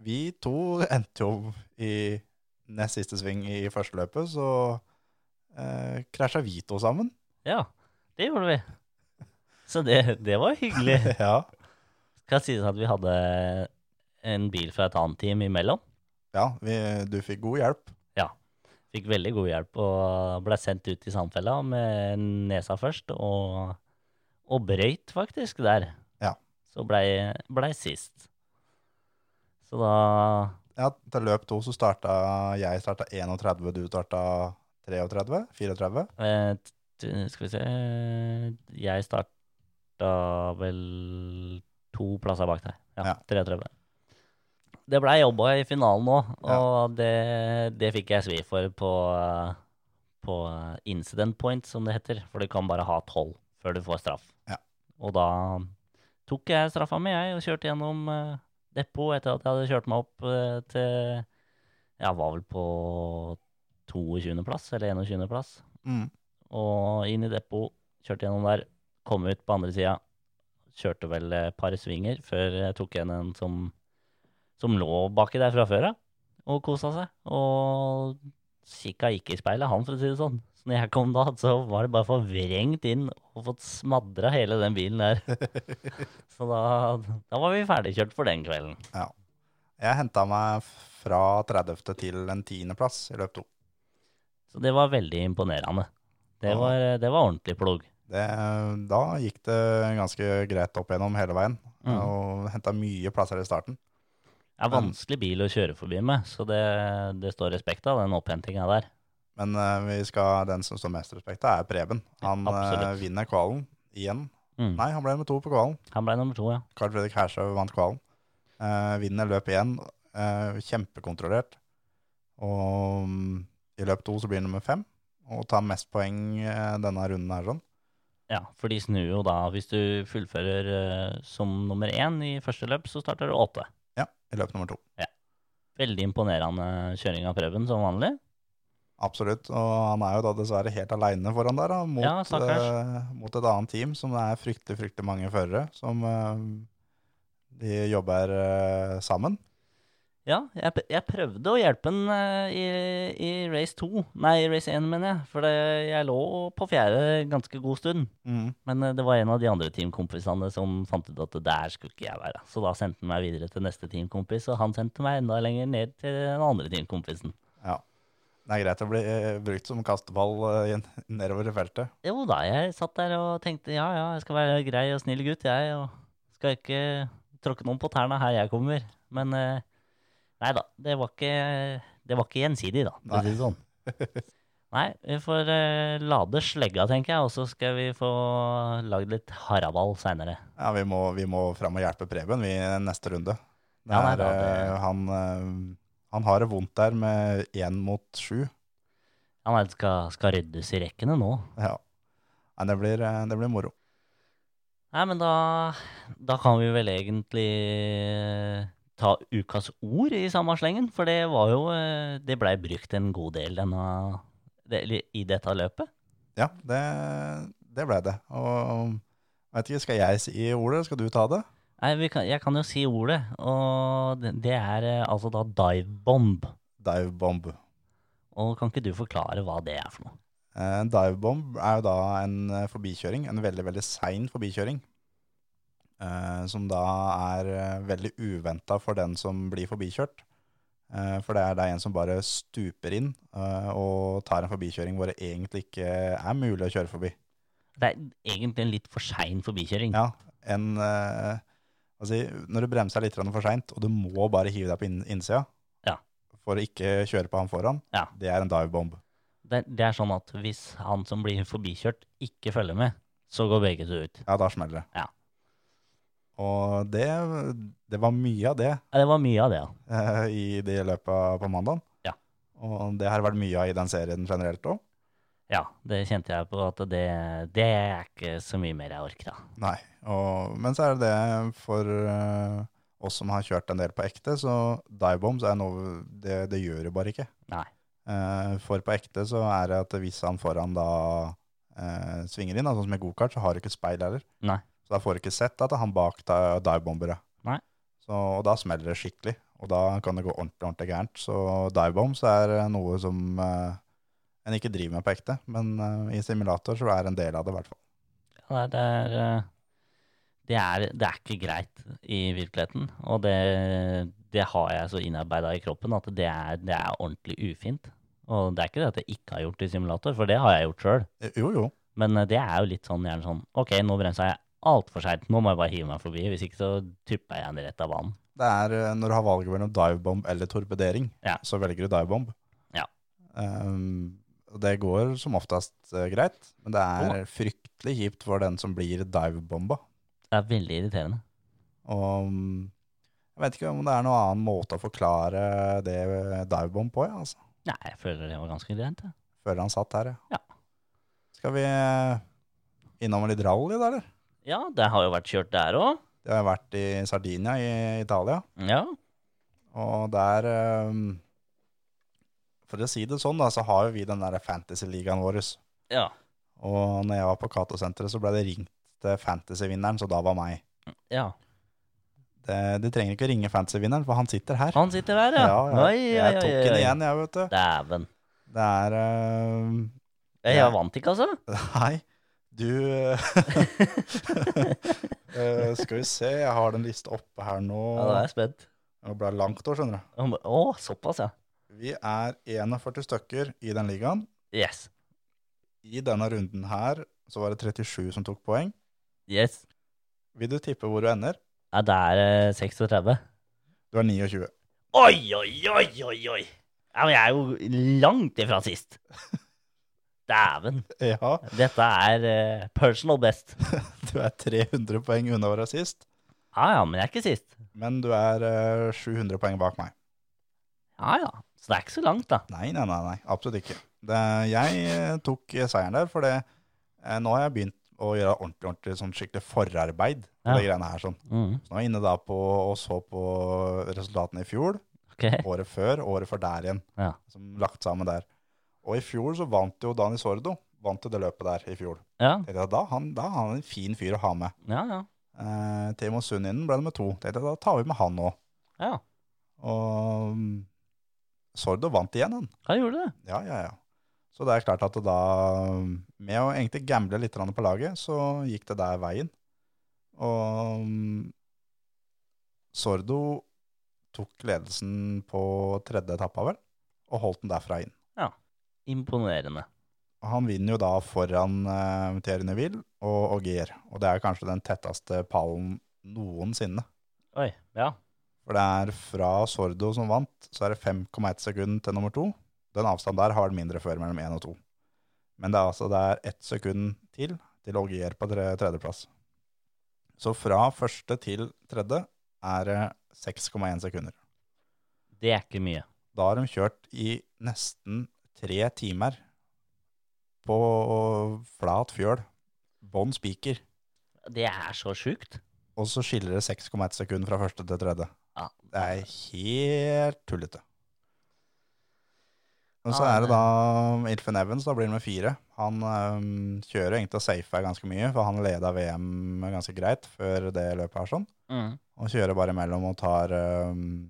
vi to endte jo i nest siste sving i første løpet, så eh, krasja vi to sammen. Ja, det gjorde vi. Så det, det var hyggelig. ja. Skal sies at vi hadde en bil fra et annet team imellom. ja vi, du fikk god hjelp. Fikk veldig god hjelp og ble sendt ut i sandfella med nesa først, og, og brøyt faktisk der. Ja. Så blei ble sist. Så da Ja, til løp to så starta jeg starta 31, du starta 33, 34. eh, t- Skal vi se Jeg starta vel to plasser bak deg. Ja, Ja. 33. Det blei jobba i finalen nå, og det, det fikk jeg svi for på, eh, på eh, incident point, som det heter. For du kan bare ha tolv før du får straff. Ja. Og da tok jeg straffa mi, jeg, og kjørte gjennom eh, depot etter at jeg hadde kjørt meg opp eh, til Jeg var vel på 22.-plass, eller 21.-plass. Mm. Og inn i depot, kjørte gjennom der, kom ut på andre sida. Kjørte vel et par svinger før jeg tok igjen en som, som lå baki der fra før av, og kosa seg. Og kikka ikke i speilet, han, for å si det sånn. Så når jeg kom da, så var det bare forvrengt inn og fått smadra hele den bilen der. Så da, da var vi ferdigkjørt for den kvelden. Jeg henta meg fra 30. til en 10. plass i løp to. Så det var veldig imponerende. Det Ja. var, det var ordentlig plog. Det, da gikk det ganske greit opp gjennom hele veien, Mm. og henta mye plasser i starten. Det er vanskelig bil å kjøre forbi med, så det, det står respekt av den opphentinga der. Men eh, vi skal, den som står mest respekt av, er Preben. Han eh, Absolutt. vinner kvalen igjen. Mm. Nei, han ble nummer to på kvalen. Han ble nummer to, ja. Carl Fredrik Hershaug vant kvalen. Eh, vinner løp igjen. Eh, kjempekontrollert. Og mm, i løp to så blir han nummer fem. Og tar mest poeng eh, denne runden her sånn. Ja, for de snur jo da Hvis du fullfører eh, som nummer én i første løp, så starter du åtte. Ja, i løp nummer to. Veldig imponerende kjøring av Preben, som vanlig. Absolutt. Og han er jo da dessverre helt aleine foran der, da, mot, Ja, stakkars. eh, mot et annet team som det er fryktelig, fryktelig mange førere som eh, de jobber eh, sammen. Ja, jeg, p- jeg prøvde å hjelpe han eh, i, i race to. Nei, i race én, mener jeg. For det, jeg lå på fjerde ganske god stund. Mm. Men eh, det var en av de andre teamkompisene som fant ut at det der skulle ikke jeg være. Så da sendte han meg videre til neste teamkompis, og han sendte meg enda lenger ned til den andre teamkompisen. Ja. Det er greit å bli eh, brukt som kasteball eh, i- nedover i feltet. Jo da, jeg satt der og tenkte ja, ja, jeg skal være grei og snill gutt, jeg. Og skal ikke tråkke noen på tærne her jeg kommer. Men eh, nei da, det var ikke, det var ikke gjensidig, da. for å si det sånn. Nei, vi får eh, lade slegga, tenker jeg, og så skal vi få lagd litt haraball seinere. Ja, vi må, vi må fram og hjelpe Preben vi neste runde. Det Ja, nei, er, da, det- eh, han, eh, han har det vondt der med én mot sju. Ja, nei, det skal, skal ryddes i rekkene nå. Ja. Nei, det blir, eh, det blir moro. Nei, men da, da kan vi vel egentlig ta ukas ord i samme slengen, for det var jo eh, Det blei brukt en god del denne, det, eller i dette løpet. Ja, det, det ble det. Og jeg vet ikke, skal jeg si ordet? Skal du ta det? Nei, vi kan, Jeg kan jo si ordet, og det, det er eh, altså da divebomb. Divebomb. Og kan ikke du forklare hva det er for noe? Eh, En divebomb er jo da en eh, forbikjøring, en veldig, veldig sein forbikjøring. eh, Som da er eh, veldig uventa for den som blir forbikjørt. Eh, For det er da en som bare stuper inn eh, og tar en forbikjøring hvor det egentlig ikke er mulig å kjøre forbi. Det er egentlig en litt for sein forbikjøring. Ja, en, eh, altså, når du bremser litt grann for seint, og du må bare hive deg på inn- innsida Ja. for å ikke kjøre på han foran, Ja. det er en divebomb. Det, det er sånn at hvis han som blir forbikjørt, ikke følger med, så går begge to ut. Ja, da smeller det. Ja. Og det, det var mye av det Ja, Det var mye av det, ja. eh, i det løpet på mandagen. Ja. Og det har vært mye av i den serien generelt òg. Ja, det kjente jeg på at det, det er ikke så mye mer jeg orker da. Nei. Og, men så er det det for eh, oss som har kjørt en del på ekte, så divebombs er noe Det, det gjør du bare ikke. Nei. Eh, for på ekte så er det at hvis han foran da eh, svinger inn, da, sånn som i gokart, så har du ikke speil heller. Nei. Så da får du ikke sett at han bak deg divebomber deg. Nei. Så, og da smeller det skikkelig, og da kan det gå ordentlig, ordentlig gærent. Så divebombs er noe som eh, en ikke driver med på ekte, men eh, i simulator så er en del av det i hvert fall. Nei, det er, eh, det er, det er ikke greit i virkeligheten, og det, det har jeg så innarbeida i kroppen at det er, det er ordentlig ufint. Og det er ikke det at jeg ikke har gjort det i simulator, for det har jeg gjort sjøl. Jo, jo. Men eh, det er jo litt sånn gjerne sånn OK, nå bremsa jeg altfor seint, nå må jeg bare hive meg forbi, hvis ikke så tupper jeg den rett av banen. Det er eh, når du har valget mellom divebomb eller torpedering, Ja. så velger du divebomb. Ja. Ehm, og det går som oftest eh, greit, men det er fryktelig kjipt for den som blir divebomba. Det er veldig irriterende. Og mm, jeg vet ikke om det er noen annen måte å forklare det eh, divebomb på, ja, altså. Nei, jeg føler det var ganske greit, jeg. Føler han satt her, Ja. Skal vi eh, innom litt rally, da, eller? Ja, det har jo vært kjørt der òg. Det har jeg vært i Sardinia i Italia. Ja. Og der ehm, For å si det sånn, da, så har jo vi den der fantasy-ligaen vår. ja. Og når jeg var på Cato-senteret, så ble det ringt til fantasy-vinneren, så da var meg. Ja. Det, de trenger ikke ringe fantasy-vinneren, for han sitter her. Han sitter der, ja. ja. Oi, oi, Jeg oi, tok oi. den igjen, jeg, vet du. Dæven. Det er ehm, Jeg, Ja. jeg vant ikke, altså. Nei, du eh, Skal vi se, jeg har den lista oppe her nå. Ja, da er jeg spent. Det ble langt år, skjønner du. Å, men- Å, såpass, ja. Vi er 41 stykker i den ligaen. Yes. I denne runden her så var det 37 som tok poeng. Yes. Vil du tippe hvor du ender? Ja, det er eh, 36. Du er 29. Oi, oi, oi, oi, oi. Ja, men jeg er jo langt ifra sist. Dæven. Ja, Dette er eh, personal best. du er 300 poeng unna å være sist, Ja ja, men jeg er ikke sist. men du er eh, 700 poeng bak meg. Ja ja. Så det er ikke så langt, da. Nei, nei, nei, nei absolutt ikke. Det, jeg eh, tok eh, seieren der, for det, eh, nå har jeg begynt å gjøre ordentlig, ordentlig sånn skikkelig forarbeid på Ja. de greiene her. Sånn. Mm, Så nå er jeg inne da på og så på resultatene i fjor, ok. året før, året før der igjen. Ja. Som lagt sammen der. Og i fjor så vant jo Dani Sordo, vant jo det løpet der i fjor. Ja, Tenkte jeg, Da er han, da er han en fin fyr å ha med. ja. ja. Eh, Timo Sunninen ble nummer to. Tenkte jeg, da tar vi med han òg. ja. Og mm, Sordo vant igjen, han. Han gjorde det. Ja, ja, ja. Så det er klart at det da, mm, med å egentlig gamble litt grann på laget, så gikk det der veien. Og mm, Sordo tok ledelsen på tredje etappa, vel, og holdt den derfra inn. Imponerende. Og Han vinner jo da foran uh, Thierry Neville og Ogier, og det er kanskje den tetteste pallen noensinne. Oi. Ja. For det er fra Sordo som vant, så er det 5,1 sekund til nummer to. Den avstanden der har vært mindre før, mellom 1 og 2. Men det er altså det er ett sekund til til Ogier på tre, tredjeplass. Så fra første til tredje er det 6,1 sekunder. Det er ikke mye. Da har de kjørt i nesten tre timer på flat fjøl, bånn spiker, Det er så sjukt. og så skiller det 6,1 sekund fra første til tredje. Ja. Det er helt tullete. Og så Ja, er det det- da Ilfen Evans, da blir han med fire. Han øhm, kjører egentlig og safer ganske mye, for han leda VM ganske greit før det løpet her sånn. Mm. Og kjører bare imellom og tar, øhm,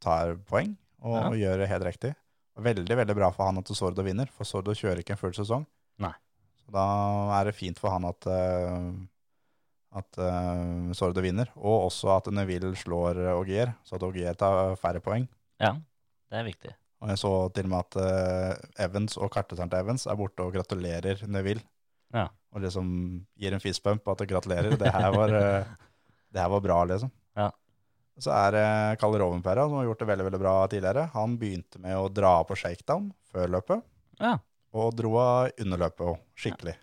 tar poeng, og, Ja. gjør det helt riktig. Veldig, veldig bra for han at Sordo vinner, for Sordo kjører ikke en full sesong. Nei. Så da er det fint for han at, øhm, at øh, Sordo vinner, og også at Neville slår øh, Ogier, så at Ogier tar færre poeng. Ja. Det er viktig. Og jeg så til og med at eh, Evans og karteseren til Evans er borte og gratulerer Neville. Ja. Og liksom gir en fistbump at gratulerer. Det her var, eh, det her var bra, liksom. Ja. Så er det Kalle Rovenpera, som har gjort det veldig veldig bra tidligere. Han begynte med å dra på shakedown før løpet, Ja. og dro av under løpet òg, skikkelig.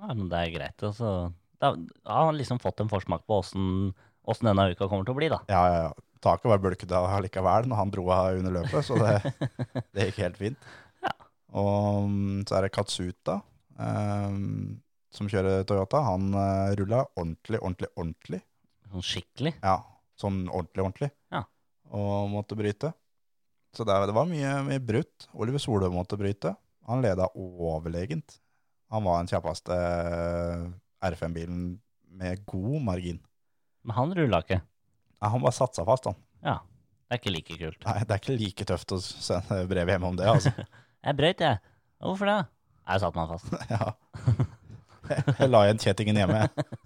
Ja, men det er greit. Altså. Da da har han liksom fått en forsmak på åssen åssen denne uka kommer til å bli, da. Ja, ja, ja. Taket var bulkete allikevel når han dro av under løpet, så det, det gikk helt fint. Ja. Og mm, så er det Katsuta, eh, som kjører Toyota. Han uh, rulla ordentlig, ordentlig, ordentlig. Sånn skikkelig. Ja, sånn ordentlig, ordentlig. Ja. Og måtte bryte. Så det, det var mye, mye brutt. Oliver Solø måtte bryte. Han leda overlegent. Han var den kjappeste R5-bilen med god margin. Men han rulla ikke. Ja, han bare satsa fast, han. Ja. Det er ikke like kult. Nei, det er ikke like tøft å sende brev hjemme om det, altså. Jeg brøyt, jeg. Hvorfor det? Jeg satte meg fast. Ja. Jeg la igjen kjettingen hjemme. jeg.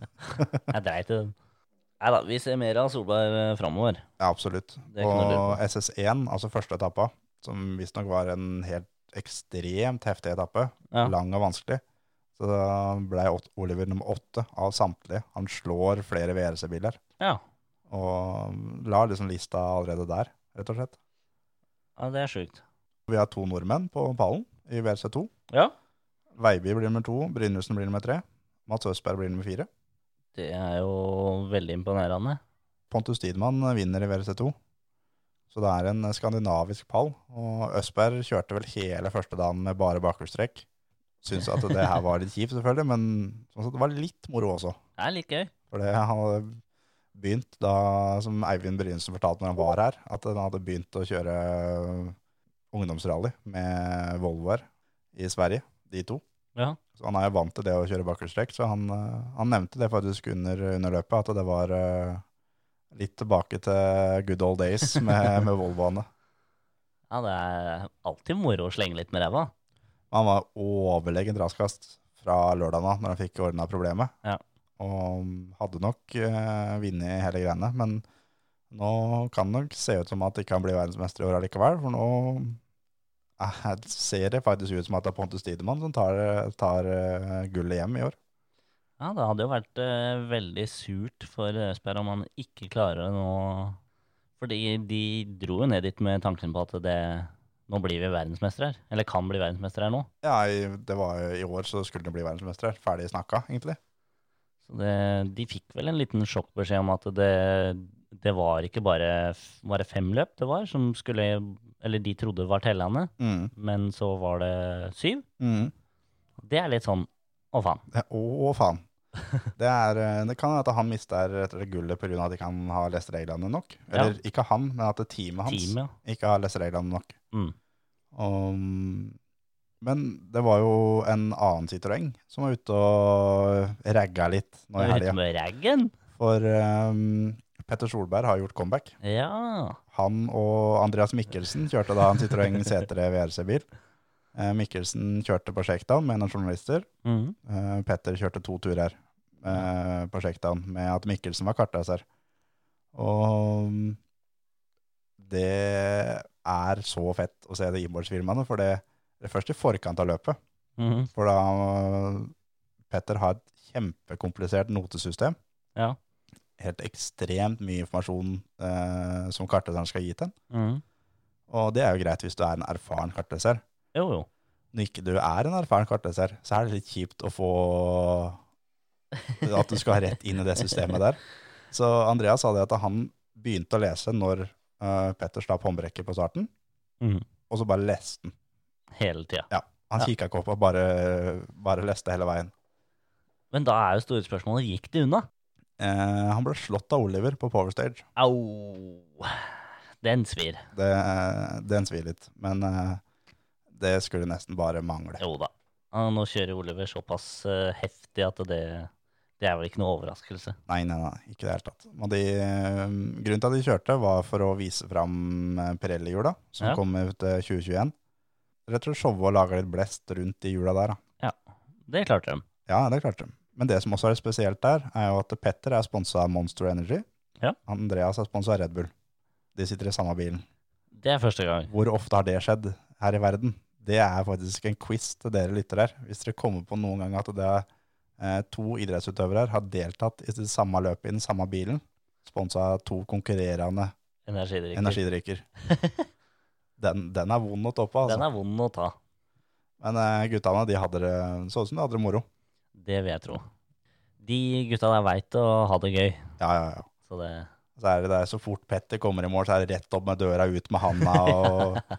Jeg dreit i den. Nei da, vi ser mer av Solberg eh, framover. Ja, absolutt. Det kan du lure Og SS1, altså første etappa, som visstnok var en helt ekstremt heftig etappe, Ja. lang og vanskelig, så da ble Ot- Oliver nummer åtte av samtlige. Han slår flere VRC-biler, ja. og la liksom lista allerede der, rett og slett. ja det er sjukt. Vi har to nordmenn på pallen i VRC2. Ja. Veiby blir nummer to, Brynesen blir nummer tre, Mats Østberg blir nummer fire. Det er jo veldig imponerende. Pontus Tidmann vinner i VRC2. Så det er en skandinavisk pall. Og Østberg kjørte vel hele første dagen med bare bakhjulstrekk. Syns at det her var litt kjipt, selvfølgelig, men sånn sett, det var litt moro også. Det er litt gøy. For det han hadde begynt da, som Eivind Brynesen fortalte når han var her, at han hadde begynt å kjøre øh, ungdomsrally med Volvoer i Sverige, de to. Ja. Så han er jo vant til det å kjøre bakhjulstrekk, så han, eh, han nevnte det faktisk under, under løpet, at det var eh, litt tilbake til good old days med, med Volvoene. Ja, det er alltid moro å slenge litt med ræva. Han var overlegent raskast fra lørdagen av når han fikk ordna problemet. Ja. Og um, hadde nok eh, vunnet hele greiene, men nå kan det nok se ut som at ikke han blir verdensmester i år allikevel, for nå eh, ser det faktisk ut som at det er Pontus Tidemann som tar, tar eh, gullet hjem i år. Ja, det hadde jo vært eh, veldig surt for Østberg om han ikke klarer det nå. Fordi de dro jo ned dit med tanken på at det, nå blir vi verdensmestere her. Eller kan bli verdensmestere her nå. Ja, i, det var jo i år så skulle det bli verdensmester. Ferdig snakka, egentlig. Så det, de fikk vel en liten sjokkbeskjed om at det, det var ikke bare, f- var det fem løp det var, som skulle, eller de trodde var tellende, Mm. men så var det syv. Mm. Det er litt sånn, å faen. Det- Å, å, faen. Det, er, eh, det kan være at han mister et- et gullet pga. at ikke han har lest reglene nok. Eller ikke han, men at det teamet hans Teamet, ja. ikke har lest reglene nok. Mm. Og, men det var jo en annen Citroën som var ute og ragga litt nå i Ute helga. med raggen. For eh, Petter Solberg har gjort comeback. Ja. Han og Andreas Mikkelsen kjørte da en Citroën C3 VRC-bil. Eh, Mikkelsen kjørte på shakedown med noen journalister. Mm. Eh, Petter kjørte to turer eh, på shakedown med at Mikkelsen var kartleser. Og mm, det er så fett å se det innbordsfilmene, for det det er først i forkant av løpet. Mhm. For da eh, Petter har et kjempekomplisert notesystem. Ja. Helt ekstremt mye informasjon eh, som kartleseren skal gi til en. Mhm. Og det er jo greit hvis du er en erfaren kartleser. Jo, jo. Når ikke du er en erfaren kartleser, så er det litt kjipt å få at du skal rett inn i det systemet der. Så Andreas sa det at han begynte å lese når eh, Petter slapp håndbrekket på starten, Mhm. og så bare leste han. Hele tida. Han Ja. kikka ikke opp og bare, bare leste hele veien. Men da er jo store spørsmålet gikk det unna? Eh, han ble slått av Oliver på Power Stage. Au! Den svir. Det, den svir litt, men eh, det skulle nesten bare mangle. Jo da. Ah, Nå kjører Oliver såpass eh, heftig at det, det er vel ikke noe overraskelse. Nei, nei, nei, ikke i det hele tatt. Og de, eh, grunnen til at de kjørte var for å vise fram eh, Pirelli-hjula, som Ja. kommer ut eh, 2021. Rett og slett showe og lage litt blest rundt de hjula der. Da. Det klarte de. Ja, det klarte de. Men det som også er spesielt der, er jo at Petter er sponsa av Monster Energy. Ja. Andreas er sponsa av Red Bull. De sitter i samme bilen. Det er første gang. Hvor ofte har det skjedd her i verden? Det er faktisk en quiz til dere lytter her. Hvis dere kommer på noen gang at det er eh, to idrettsutøvere her har deltatt i det samme løpet i den samme bilen, sponsa av to konkurrerende Energidrikker. energidrikker. Den, den er vond å toppe, altså. Den er vond å ta. Men eh, guttene de hadde det så ut som de hadde det moro. Det vil jeg tro. De gutta der veit å ha det gøy. Ja, ja, ja. Så det Så er det der, så fort Petter kommer i mål, så er det rett opp med døra, ut med handa. Og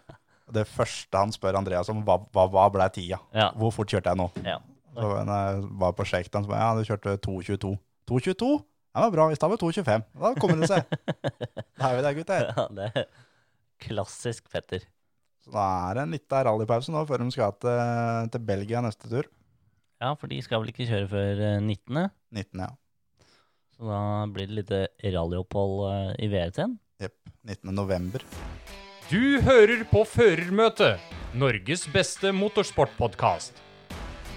og det første han spør Andreas om, hva, hva, hva ble tida? Ja. Hvor fort kjørte jeg nå? ja. Så når jeg var på sjekten, så bare, ja, du kjørte 2.22. 2.22? Ja, det var bra, hvis det var 2.25. Da kommer det seg. Da er vi der, gutter. ja det er klassisk Petter. Så da er det en liten rallypause nå, før de skal til, til Belgia neste tur. Ja, for de skal vel ikke kjøre før eh, 19., 19, ja. så da blir det lite rallyopphold eh, i VRT-en. Jep, 19. november. Du hører på Førermøtet, Norges beste motorsportpodkast.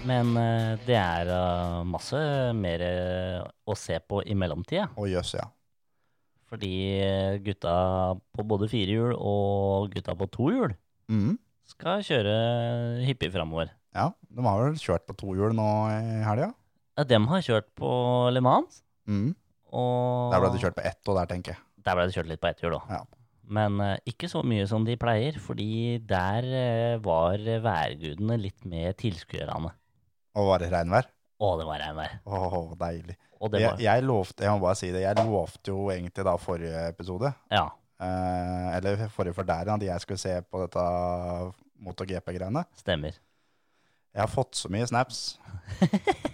Men eh, det er eh, masse mer eh, å se på i mellomtida. Å, jøss, ja. Fordi eh, gutta på både firehjul og gutta på tohjul Mhm. skal kjøre hyppig framover. Ja, de har vel kjørt på to hjul nå i helga. Ja, dem har kjørt på Le Mans. Mhm. Og Der ble det kjørt på ett, og der tenker jeg. Der ble det kjørt litt på ett hjul, Ja. da. Men eh, ikke så mye som de pleier, fordi der eh, var værgudene litt med tilskuerne. Og var det regnvær? Å, det var regnvær. Åh, deilig. Og det Jeg, var jeg lovte, jeg må bare si det, jeg lovte jo egentlig da forrige episode, Ja. eh, eller forrige for der, at jeg skulle se på dette MotoGP-greiene. Stemmer. Jeg har fått så mye snaps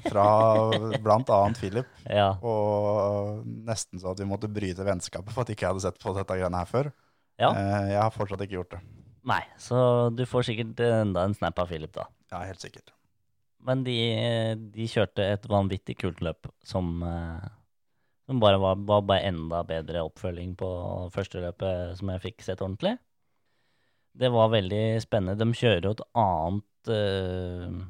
fra blant annet Philip, Ja. og nesten så at vi måtte bryte vennskapet for at ikke jeg hadde sett på dette greiene her før. Ja. Eh, Jeg har fortsatt ikke gjort det. Nei, så du får sikkert eh, enda en snap av Philip, da. Ja, helt sikkert. Men de, de kjørte et vanvittig kult løp som, eh, som bare var, var bare enda bedre oppfølging på første løpet som jeg fikk sett ordentlig. Det var veldig spennende. De kjører jo et annet eh,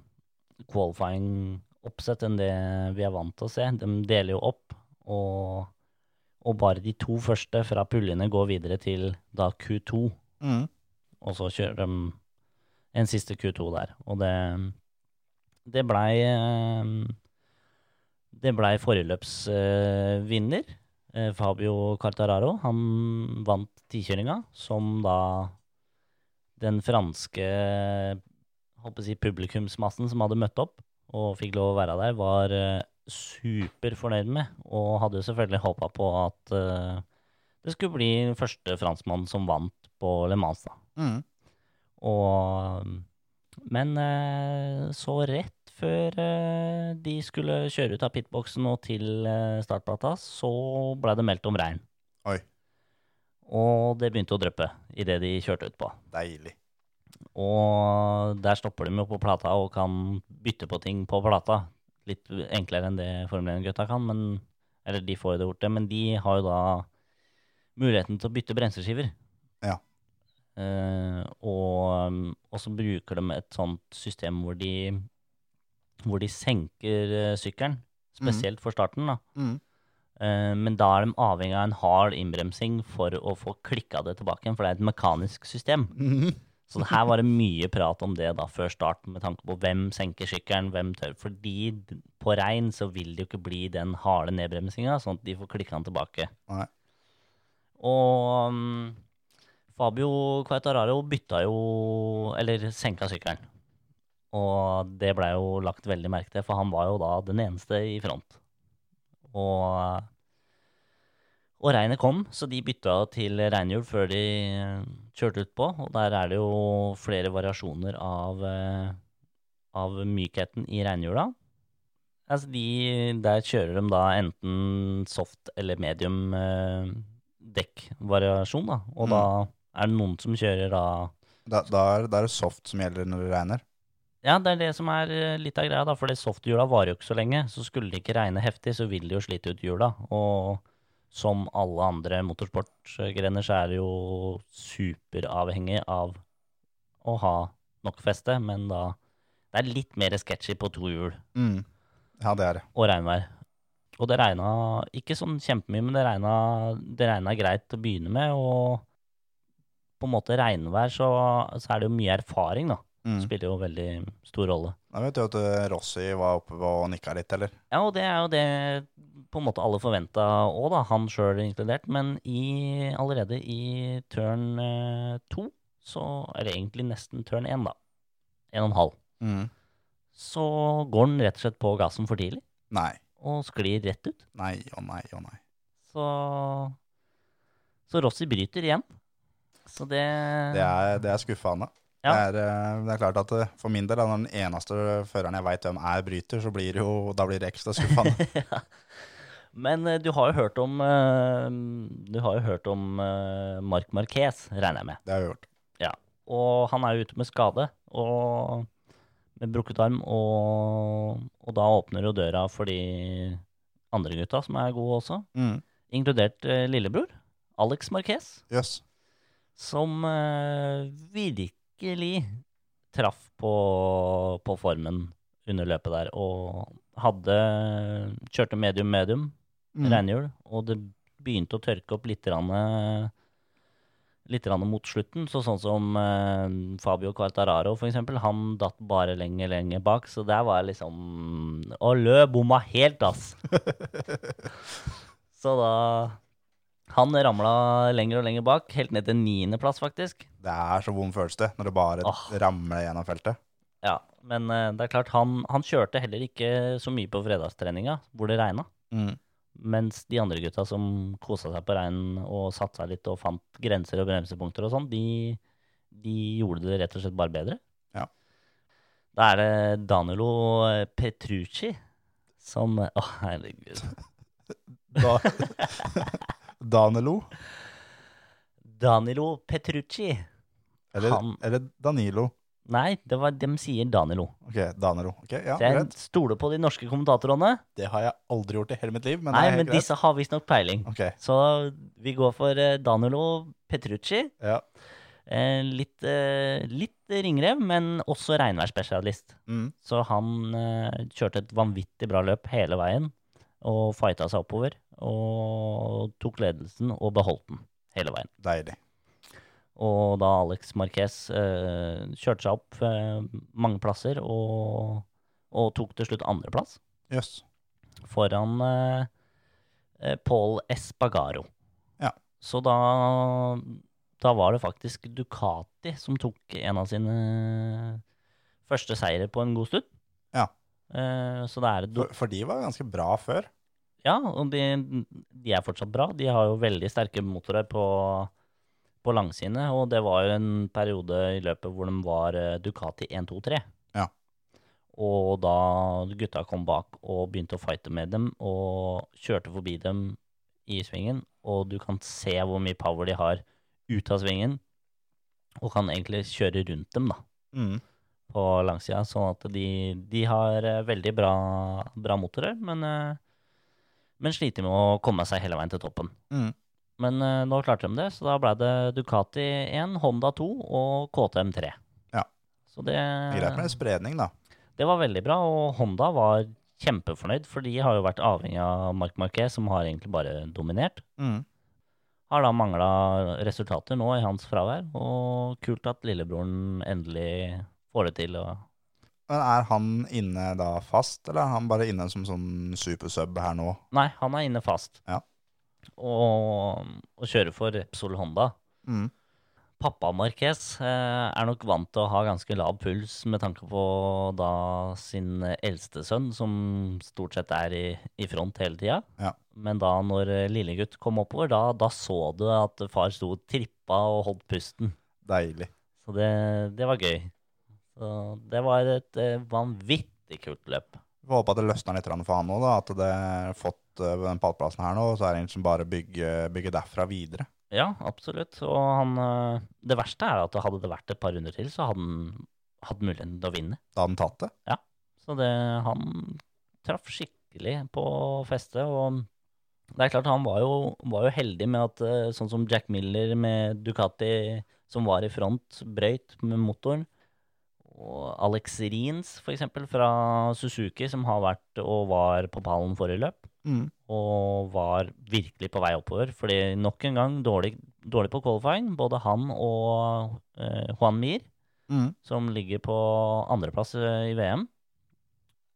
qualifying-oppsett enn det vi er vant til å se. De deler jo opp, og, og bare de to første fra puljene går videre til da Q2 Mm. og så kjører de en siste Q2 der. Og det, det blei eh, Det blei foreløpsvinner. Eh, Fabio Cartararo. Han vant tikjøringa, som da den franske holdt på å si, publikumsmassen som hadde møtt opp og fikk lov å være der, var eh, superfornøyd med. Og hadde jo selvfølgelig håpa på at eh, det skulle bli den første franskmann som vant på Le Mans. da. Mm. Og, mm, men eh, så rett før eh, de skulle kjøre ut av pitboksen og til eh, startplata, så ble det meldt om regn. Oi. Og det begynte å dryppe idet de kjørte utpå. Deilig. Og der stopper de jo på plata og kan bytte på ting på plata. Litt enklere enn det Formel 1-gutta kan, men, eller de får jo det gjort, det, men de har jo da muligheten til å bytte bremseskiver. Ja. Eh, og, og så bruker de et sånt system hvor de, hvor de senker eh, sykkelen, spesielt for starten. da. Mhm. Eh, men da er de avhengig av en hard innbremsing for å få klikka det tilbake igjen, for det er et mekanisk system. Så det her var det mye prat om det da før start, med tanke på hvem senker sykkelen, hvem tør. Fordi d- på regn så vil det jo ikke bli den harde nedbremsinga, sånn at de får klikka den tilbake. Nei. Og mm, Fabio Quattararo bytta jo Eller senka sykkelen. Og det blei jo lagt veldig merke til, for han var jo da den eneste i front. Og og regnet kom, så de bytta til regnhjul før de eh, kjørte utpå. Og der er det jo flere variasjoner av, eh, av mykheten i regnhjula. Altså de, der kjører de da enten soft eller medium eh, dekkvariasjon, da. Og Mm. da er det noen som kjører da Da, da, er, da er det soft som gjelder når det regner. Ja, det er det som er eh, litt av greia, da. For softhjula varer jo ikke så lenge. Så skulle det ikke regne heftig, så vil det jo slite ut hjula. Og som alle andre motorsportgrener, så er det jo superavhengig av å ha nok feste. Men da Det er litt mer sketchy på to hjul Mm. Ja, det er det. og regnvær. Og det regna ikke sånn kjempemye, men det regna, det regna greit å begynne med. Og på en måte regnvær, så, så er det jo mye erfaring, da. Mm. Spiller jo veldig stor rolle. Da vet du at eh, Rossi var oppe og nikka litt, eller? Ja, og det er jo det på en måte alle forventa òg, da, han sjøl inkludert. Men i, allerede i turn eh, to, så er det egentlig nesten turn én, da. En og en halv. Mm. Så går han rett og slett på gassen for tidlig, Nei. og sklir rett ut. Nei og nei og nei. Så Så Rossi bryter igjen. Så det, Det er, det er skuffende. Ja. Det, er, eh, det er klart at eh, for min del, da, når den eneste føreren jeg veit hvem er, bryter, så blir det jo, da blir det ekstra skuffende. Men eh, du har jo hørt om eh, Du har jo hørt om eh, Marc Marquez, regner jeg med. det har vi gjort. Og han er jo ute med skade og med brukket arm, og, og da åpner jo døra for de andre gutta som er gode også, Mm. inkludert eh, lillebror, Alex Marquez, Jøss. som eh, virkelig traff på, på formen under løpet der, og hadde kjørte medium-medium, Mm. regnhjul, og det begynte å tørke opp litt, grann, eh, litt grann mot slutten. Så sånn som eh, Fabio Quartararo, for eksempel, han datt bare lenger, lenger bak. Så der var jeg liksom Å, lø, bomma helt, ass! så da Han ramla lenger og lenger bak, helt ned til niendeplass, faktisk. Det er så vond følelse det, når det bare Åh. ramler gjennom feltet. Ja, men eh, det er klart, han, han kjørte heller ikke så mye på fredagstreninga, hvor det regna. Mm. Mens de andre gutta som kosa seg på regnen og satsa litt og fant grenser og bremsepunkter og sånn, de, de gjorde det rett og slett bare bedre. Ja. Da er det Danilo Petrucci som Å, herregud. Da, Danilo, Danilo Petrucci. eller, Han- eller Danilo. Nei, det var dem sier Danilo. Ok, Danilo. Ok, ja, Så jeg greit. stoler på de norske kommentatorene. Det har jeg aldri gjort i hele mitt liv, men Nei, det er men helt greit. disse har visstnok peiling. Ok, Så vi går for eh, Danilo Petrucci. ja. Eh, Litt, eh, litt ringrev, men også regnværsspesialist. Mm. Så han eh, kjørte et vanvittig bra løp hele veien, og fighta seg oppover. Og tok ledelsen og beholdt den hele veien. Deilig. Og da Alex Marquez eh, kjørte seg opp eh, mange plasser, og, og tok til slutt andreplass Jøss. foran eh, eh, Paul Espagaro. Ja. Så da Da var det faktisk Ducati som tok en av sine eh, første seire på en god stund. Ja. Eh, så det er et For, for de var ganske bra før. Ja, og de, de er fortsatt bra. De har jo veldig sterke motorer på, på langsine, og det var jo en periode i løpet hvor de var eh, Ducati 1-2-3. Ja. Og da gutta kom bak og begynte å fighte med dem, og kjørte forbi dem i svingen, og du kan se hvor mye power de har ut av svingen, og kan egentlig kjøre rundt dem da, Mm. på langsida, sånn at de, de har eh, veldig bra, bra motorer, men, eh, men sliter med å komme seg hele veien til toppen. Mm. Men eh, nå klarte de det, så da ble det Ducati 1, Honda 2 og KTM 3. Ja. Så det, Det er Greit med litt spredning, da. det var veldig bra, og Honda var kjempefornøyd, for de har jo vært avhengig av Marc Marquez, som har egentlig bare dominert Mm. har da mangla resultater nå i hans fravær, og kult at lillebroren endelig får det til. Og... Men er han inne da fast, eller er han bare inne som sånn supersub her nå? Nei, han er inne fast. Ja. Og, og kjører for Repsol Honda. Mm. Pappa Marquez eh, er nok vant til å ha ganske lav puls med tanke på da sin eldste sønn, som stort sett er i, i front hele tida. Ja. Men da når eh, lillegutt kom oppover, da, da så du at far sto og trippa og holdt pusten. Deilig. Så det, det var gøy. Så det var et eh, vanvittig kult løp. Vi får håpe at det løsner litt grann for han nå, da. At det har fått eh, den pallplassen her nå, og så er det egentlig bare å bygge, bygge derfra videre. Ja, absolutt. Og han eh, Det verste er at hadde det vært et par runder til, så hadde han hatt muligheten til å vinne. Da hadde han tatt det. Så det, han traff skikkelig på festet, og det er klart han var jo, var jo heldig med at eh, sånn som Jack Miller med Ducati, som var i front, brøyt med motoren. Og Alex Rins, for eksempel, fra Suzuki, som har vært og var på pallen forrige løp. Mm. og var virkelig på vei oppover. Fordi nok en gang dårlig, dårlig på qualifying, både han og eh, Juan Mir, Mm. som ligger på andreplass eh, i VM,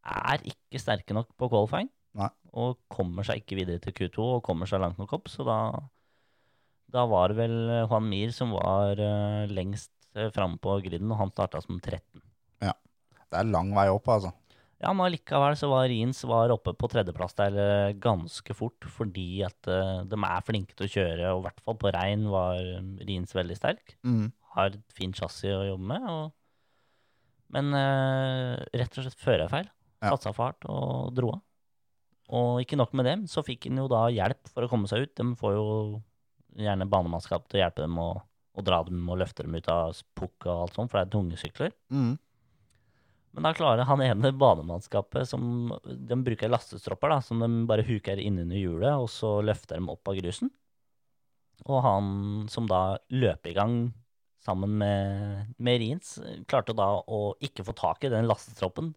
er ikke sterke nok på qualifying. Nei. Og kommer seg ikke videre til Q2 og kommer seg langt nok opp, så da, da var det vel eh, Juan Mir som var eh, lengst eh, framme på griden, og han starta som 13. Det er lang vei opp, altså. Ja, men allikevel så var Rins var oppe på tredjeplass der eh, ganske fort, fordi at eh, de er flinke til å kjøre, og i hvert fall på regn var eh, Rins veldig sterk. Mm. Har et fint chassis å jobbe med. Og... Men eh, rett og slett førerfeil. Ja. Satsa for hardt og dro av. Og ikke nok med det, så fikk han jo da hjelp for å komme seg ut. De får jo gjerne banemannskap til å hjelpe dem og, og dra dem og løfte dem ut av pukk og alt sånt, for det er tunge sykler. Mm. Men da klarer han ene banemannskapet som De bruker lastestropper, da, som de bare huker innunder hjulet, og så løfter de opp av grusen. Og han som da løper i gang sammen med, med Rins, klarte da å ikke få tak i den lastetropppen.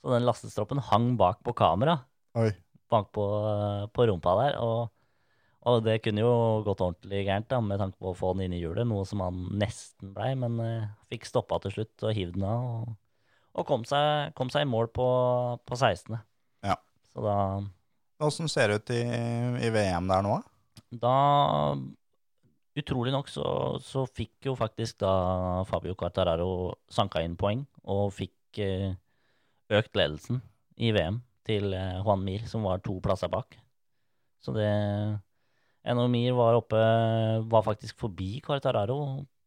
Så den lastestroppen hang bak på kamera, Oi. bak på, på rumpa der. Og, og det kunne jo gått ordentlig gærent da, med tanke på å få den inn i hjulet, noe som han nesten blei, men eh, fikk stoppa til slutt og hivd den av. Og, og kom, seg, kom seg i mål på, på 16. Ja. Så da, Åssen ser det ut i, i VM der nå? da? da Utrolig nok så, så fikk jo faktisk da Fabio Quartararo sanka inn poeng og fikk eh, økt ledelsen i VM til eh, Juan Mir, som var to plasser bak. Så det NO Mir var oppe Var faktisk forbi Quartararo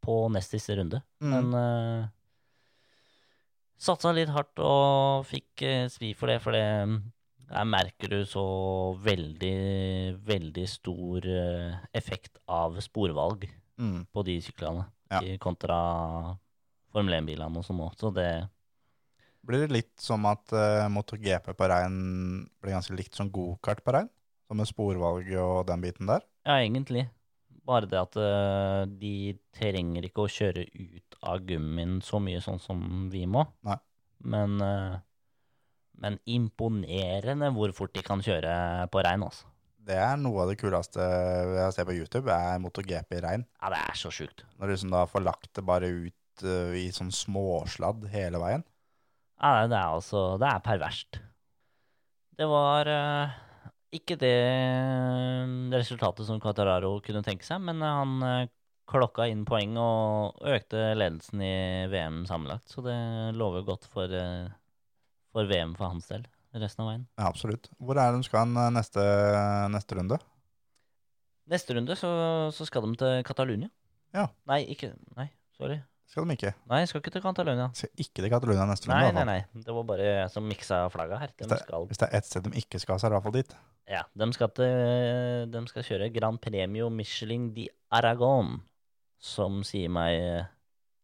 på nest siste runde. Mm. Men eh, satsa litt hardt og fikk eh, svi for det, for det mm, der merker du så veldig, veldig stor eh, effekt av sporvalg Mm. på de syklene Ja. i- kontra Formel 1-bilene og sånn òg. Så det Blir det litt som at uh, MotoGP på regn blir ganske likt som gokart på regn? Som med sporvalget og den biten der? Ja, egentlig. Bare det at eh, de trenger ikke å kjøre ut av gummien så mye sånn som vi må. Nei. Men, eh, men imponerende hvor fort de kan kjøre på regn, altså. Det er noe av det kuleste jeg ser på YouTube, er MotoGP i regn. Ja, det er så sjukt. Når du liksom da får lagt det bare ut eh, i sånn småsladd hele veien. Ja, det er altså Det er perverst. Det var eh, ikke det resultatet som Qatararo kunne tenke seg, men han eh, klokka inn poeng og økte ledelsen i VM sammenlagt. Så det lover godt for, eh, for VM for hans del resten av veien. Ja, absolutt. Hvor er det de skal hen neste, neste runde? Neste runde så, så skal de til Catalonia. Ja. Nei, ikke Nei, sorry. Skal de ikke? Nei, skal ikke til Catalonia. Skal ikke til Catalonia neste runde? i Nei, hvert nei, fall. nei. Det var bare jeg som miksa flagga her. De skal, Hvis det er ett sted de ikke skal, så er det i hvert fall dit. ja, de skal, til, de skal kjøre Grand Premio Michelin di Aragon, som sier meg eh,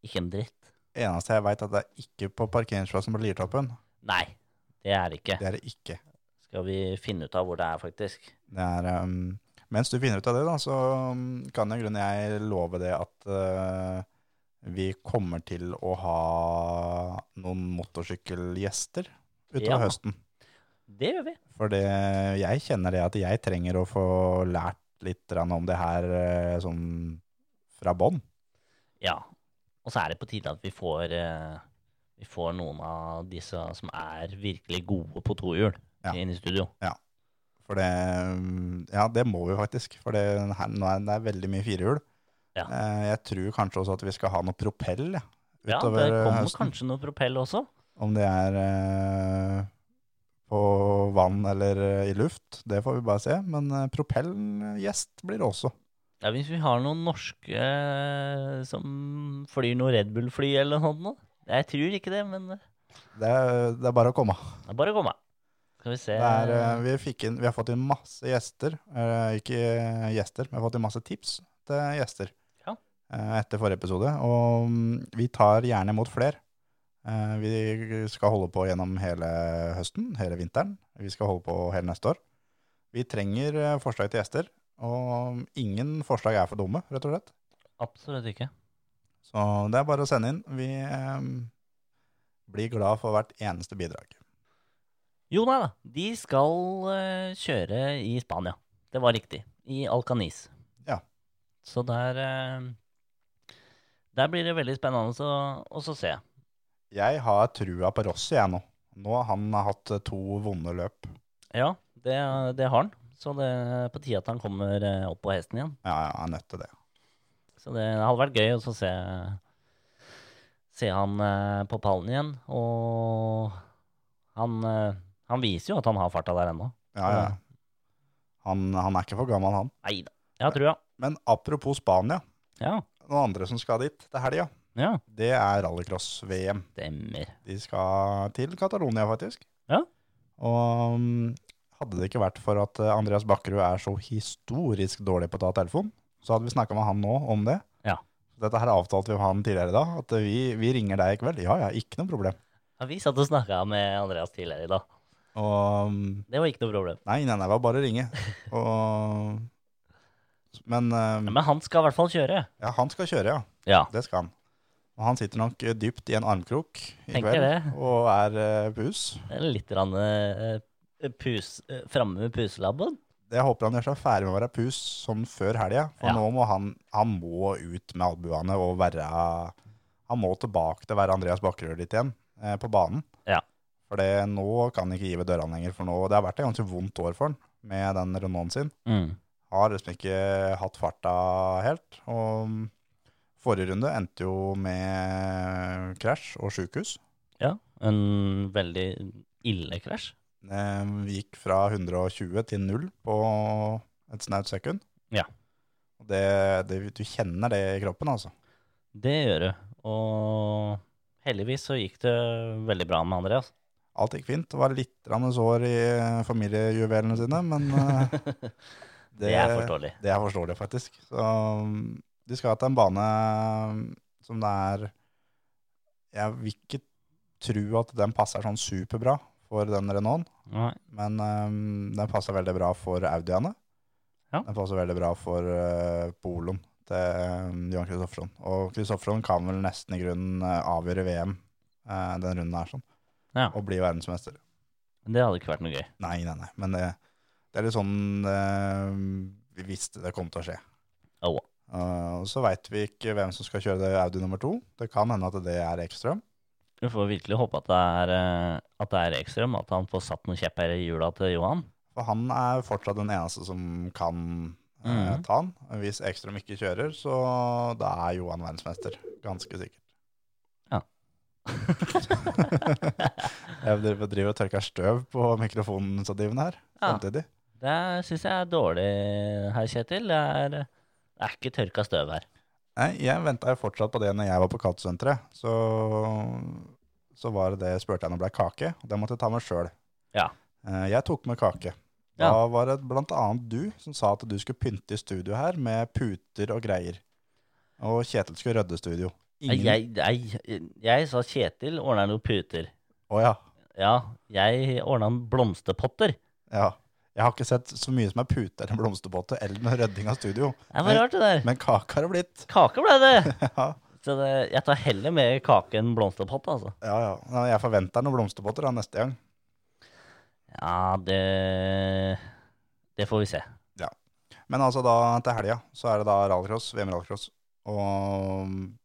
ikke en dritt. Eneste jeg veit, at det er ikke på parkeringsplassen på Liertoppen. Nei, det er det ikke. Det er det ikke. Skal vi finne ut av hvor det er, faktisk. Det er, um, mens du finner ut av det, da, så um, kan jo i grunnen jeg love det at uh, vi kommer til å ha noen motorsykkelgjester utover Ja. høsten. Det gjør vi. For det, jeg kjenner det at jeg trenger å få lært litt grann om det her eh, sånn fra bånn. Ja. Og så er det på tide at vi får, eh, vi får noen av disse som er virkelig gode på tohjul, Ja. inn i studio. For det, um, ja, det må vi faktisk. For det, her, nå er det er veldig mye firehjul. Ja. Eh, Jeg tror kanskje også at vi skal ha noe propell ja, Ja, utover det kommer høsten. kanskje noe propell også. Om det er eh, på vann eller eh, i luft, det får vi bare se. Men eh, propellgjest blir det også. Ja, Hvis vi har noen norske eh, som flyr noe Red Bull-fly eller noe sånt nå. Jeg tror ikke det, men eh, Det er, det er bare å komme. det er bare å komme. Skal vi se Det er, eh, vi, fikk inn, vi har fått inn masse gjester. eh, Ikke gjester, men vi har fått inn masse tips til gjester Ja. eh, etter forrige episode. Og mm, vi tar gjerne imot flere. Eh, Vi skal holde på gjennom hele høsten, hele vinteren. Vi skal holde på hele neste år. Vi trenger eh, forslag til gjester, og mm, ingen forslag er for dumme, rett og slett. Absolutt ikke. Så det er bare å sende inn. Vi eh, blir glad for hvert eneste bidrag. Jo nei da, de skal eh, kjøre i Spania. Det var riktig. I Alcanis. Ja. Så der eh, Der blir det veldig spennende å også se. Jeg har trua på Rossi, jeg nå. Nå har han hatt eh, to vonde løp. Ja, det, det har han. Så det er på tide at han kommer eh, opp på hesten igjen. Ja, ja, han er nødt til det. Så det hadde vært gøy også å se, se han eh, på pallen igjen. Og han, eh, han viser jo at han har farta der ennå. Ja, ja. Han, han er ikke for gammel, han. Nei da. Jeg har trua. Men apropos Spania, Ja. noen andre som skal dit til helga, ja. det er rallycross-VM. Stemmer. De skal til Catalonia, faktisk. Ja. Og mm, hadde det ikke vært for at eh, Andreas Bakkerud er så historisk dårlig på å ta telefon, så hadde vi snakka med han nå om det. Ja. Dette her avtalte vi med han tidligere i dag, at vi, vi ringer deg i kveld. Ja, ja, ikke noe problem. Ja, vi satt og snakka med Andreas tidligere i dag. Og mm, Det var ikke noe problem. Nei, nei, nei, det var bare å ringe. Og... Men eh, Men han skal i hvert fall kjøre. ja, han skal kjøre, ja. Ja. Det skal han. Og han sitter nok eh, dypt i en armkrok i Tenker kveld det. og er eh, pus. det er Litt rann, eh, pus, eh, framme med puselabben. Jeg håper han gjør seg ferdig med å være pus sånn før helga, for Ja. nå må han, han må ut med albuene og være Han må tilbake til å være Andreas Bakkerud litt igjen eh, på banen. Ja. For det, nå kan han ikke gi ved dørene lenger, for nå, det har vært et ganske vondt år for han med den Renaulten sin. Mm. har liksom ikke hatt farta helt. Og forrige runde endte jo med krasj og sjukehus. Ja. En veldig ille krasj. Eh, Vi gikk fra 120 til 0 på et snaut sekund. Ja. Og Det, det, du kjenner det i kroppen, altså. Det gjør du. Og heldigvis så gikk det veldig bra med Andreas. Alt gikk fint. Det var litt grann sår i familiejuvelene sine, men eh, det, Det er forståelig. Det er forståelig, faktisk. Så um, de skal til en bane um, som det er Jeg vil ikke tro at den passer sånn superbra for den Renaulten, Nei. men um, den passer veldig bra for Audiene. Ja. Den passer veldig bra for uh, Poloen til um, Johan Kristoffersson. Og Kristoffersson kan vel nesten i grunnen uh, avgjøre VM uh, den runden her, sånn, Ja. og bli verdensmester. Det hadde ikke vært noe gøy. Nei, nei, nei. Men det, det er litt sånn eh, Vi visste det kom til å skje. Ja. Eh, og så veit vi ikke hvem som skal kjøre det Audi nummer to. Det kan hende at det er Ekstrøm. Du får virkelig håpe at det er, eh, at det er Ekstrøm, at han får satt noen kjepper i hjula til Johan. For han er fortsatt den eneste som kan eh, Mhm. ta han. Hvis Ekstrøm ikke kjører, så da er Johan verdensmester. Ganske sikkert. Ja. jeg driver driver og tørker støv på mikrofonstativene her Ja. samtidig. Det syns jeg er dårlig her, Kjetil. Det er, det er ikke tørka støv her. Nei, jeg venta jo fortsatt på det når jeg var på Kattesenteret. Så, så var det det spurte jeg om det ble kake, og det måtte jeg ta med sjøl. Ja. Eh, Jeg tok med kake. Da Ja. var det blant annet du som sa at du skulle pynte i studio her med puter og greier. Og Kjetil skulle rydde studio. Ingen- Jeg, jeg, jeg sa Kjetil ordna noen puter. Å ja. Ja, jeg ordna en blomsterpotter. ja. Jeg har ikke sett så mye som er puter eller blomsterpotte eller noe rydding av studio. Det var Men- rart, det der. Men kake har det blitt. Kake ble det. Ja, Så det, jeg tar heller med kake enn blomsterpott, altså. ja. ja. Nei, Jeg forventer noen blomsterpotter da, neste gang. Ja, det Det får vi se. Men altså da til helga så er det da rallycross, VM rallycross. Og mm,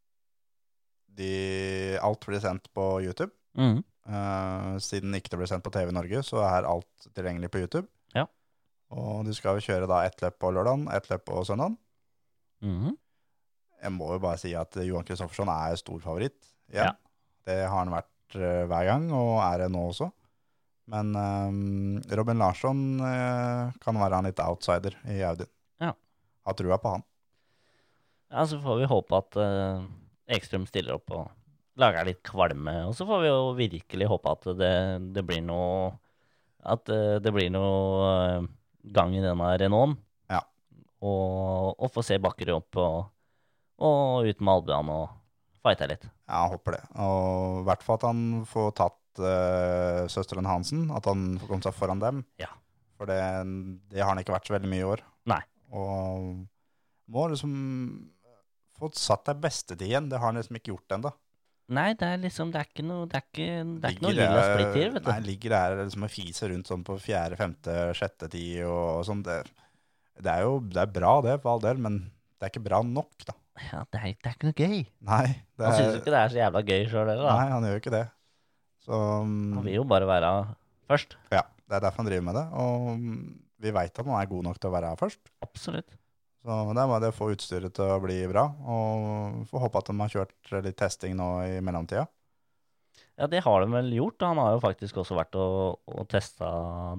de, alt blir sendt på YouTube. Mm. Eh, siden ikke det blir sendt på TV i Norge, så er alt tilgjengelig på YouTube. Ja. Og du skal jo kjøre da ett løp på lørdagen, ett løp på søndagen. Mhm. Jeg må jo bare si at Johan Kristoffersson er stor favoritt. Ja. igjen. Det har han vært eh, hver gang, og er det nå også. Men eh, Robin Larsson eh, kan være en litt outsider i Audien. Ja. Har trua på han. Ja, så får vi håpe at eh, Ekstrøm stiller opp og lager litt kvalme. Og så får vi jo virkelig håpe at det, det blir noe At eh, det blir noe eh, gang i denne Renaulten. Ja. Og, og få se Bakkerud opp og, og ut med albuene og fighte litt. Ja, jeg håper det. Og i hvert fall at han får tatt eh, søsteren Hansen, at han får komme seg foran dem. Ja. For det, det har han ikke vært så veldig mye i år. Nei. Og må liksom få satt deg bestetid igjen. Det har han liksom ikke gjort ennå. Nei, det er liksom Det er ikke noe Det er ikke, det er ikke noe Ligger lilla der- splitt her, vet Nei, du. ligger der liksom og fiser rundt sånn på fjerde, femte, sjette tid og, og sånn. Det, det er jo det er bra det, for all del, men det er ikke bra nok, da. Ja, det er, det er ikke noe gøy. Nei, det Han syns jo er, ikke det er så jævla gøy sjøl heller, da. nei han gjør jo ikke det. Så um, Han vil jo bare være først. Ja, det er derfor han driver med det. Og mm, vi veit at han er god nok til å være her først. Absolutt. Så det er bare det å få utstyret til å bli bra. Og får håpe at de har kjørt litt testing nå i mellomtida. Ja, det har de vel gjort. og Han har jo faktisk også vært og, og testa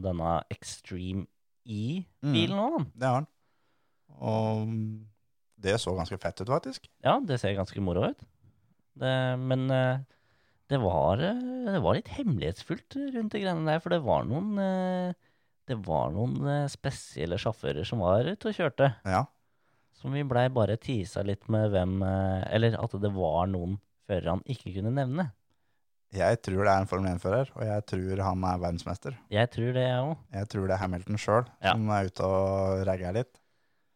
denne Extreme E-bilen òg, han. Det har han. Og mm, det så ganske fett ut, faktisk. Ja, det ser ganske moro ut. Det, men eh, det var, eh, det var litt hemmelighetsfullt rundt de greiene der, for det var noen eh, det var noen eh, spesielle sjåfører som var ute og kjørte. Ja. Som vi blei bare tisa litt med hvem eh, Eller at det var noen førere han ikke kunne nevne. Jeg tror det er en Formel 1-fører, og jeg tror han er verdensmester. Jeg tror det, jeg òg. Jeg tror det er Hamilton sjøl Ja. som er ute og ragger litt.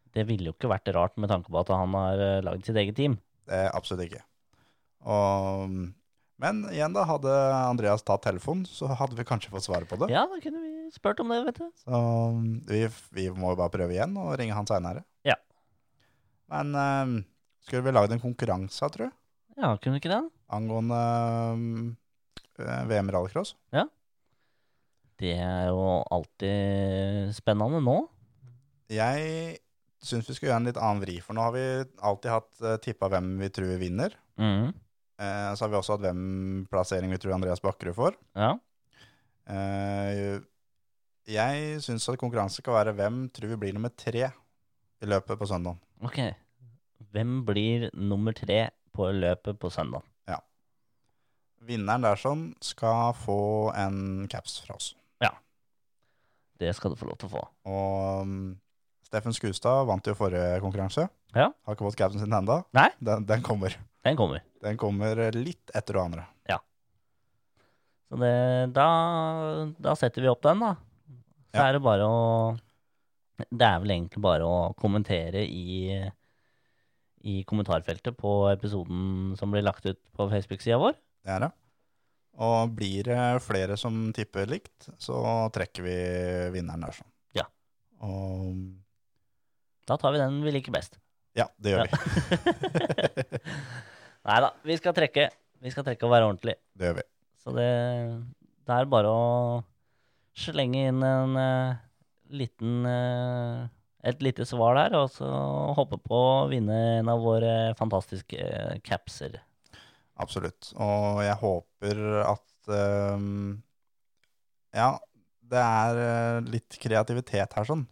Det ville jo ikke vært rart med tanke på at han har eh, lagd sitt eget team. Det er absolutt ikke. Og, mm, men igjen, da, hadde Andreas tatt telefonen, så hadde vi kanskje fått svaret på det. Ja, da kunne vi spurt om det, vet du. Så um, vi, vi må jo bare prøve igjen og ringe han seinere. Ja. Men eh, skulle vi lagd en konkurranse, tror jeg, Ja, kunne vi ikke det? angående eh, VM rallycross? Det er jo alltid spennende nå. Jeg syns vi skal gjøre en litt annen vri, for nå har vi alltid hatt uh, tippa hvem vi tror vinner. Mhm. Eh, så har vi også hatt hvem plassering vi tror Andreas Bakkerud får. Ja. Eh, jeg syns at konkurranse skal være hvem tror vi blir nummer tre i løpet på søndag. Ok. Hvem blir nummer tre på løpet på søndag? Vinneren der sånn skal få en caps fra oss. Det skal du få lov til å få. Og um, Steffen Skustad vant jo forrige konkurranse. Ja. Har ikke fått capsen sin ennå. Nei. Den, den kommer. Den kommer. Den kommer litt etter det andre. Så det, da, da setter vi opp den, da. Så Ja. er det bare å Det er vel egentlig bare å kommentere i, i kommentarfeltet på episoden som blir lagt ut på Facebook-sida vår. Det er det. Og blir det flere som tipper likt, så trekker vi vinneren der sånn. Ja. Og Da tar vi den vi liker best. ja, det gjør vi. Nei da, vi skal trekke. Vi skal trekke og være ordentlig. Det gjør vi. Så det, det er bare å slenge inn en eh, liten eh, et lite svar der, og så håpe på å vinne en av våre fantastiske eh, capser. Absolutt. Og jeg håper at ehm, Ja, det er eh, litt kreativitet her, sånn.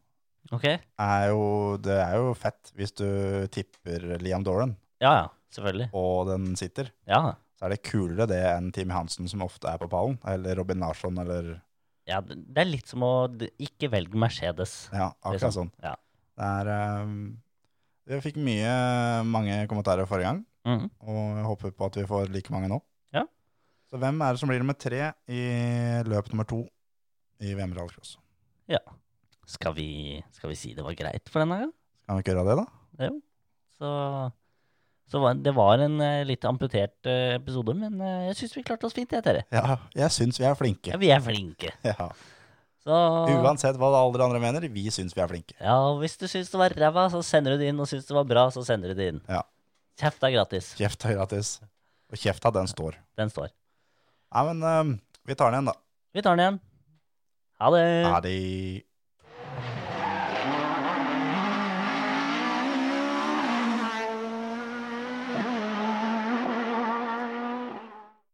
Ok? Er jo, det er jo fett hvis du tipper Liam Doran, Ja, ja. Selvfølgelig. og den sitter. Ja, Så er det kulere det enn Team Hansen, som ofte er på pallen. Eller Robin Larsson, eller ja. Det det er litt som å d- ikke velge Mercedes. Ja, akkurat sånn. liksom. Ja. Det er ehm, Jeg fikk mye, mange kommentarer forrige gang. Mhm. og jeg håper på at vi får like mange nå. Ja. Så hvem er det som blir nummer tre i løp nummer to i VM rallycross? skal, vi, skal vi si det var greit for denne gangen? Kan vi ikke gjøre det, da? Så, så var, det var en eh, litt amputert eh, episode, men eh, jeg syns vi klarte oss fint, jeg, Terje. Ja, jeg syns vi er Ja, flinke. vi er flinke. Ja. Så Uansett hva alle dere andre mener, vi syns vi er flinke. ja, og hvis du syns det var ræva, så sender du det inn, og syns det var bra, så sender du det inn. Ja. Kjeft er gratis. Kjeft er gratis. Og kjefta, den står. Den står. Nei, men øhm, vi tar den igjen, da. Vi tar den igjen. Ha det. Ha det.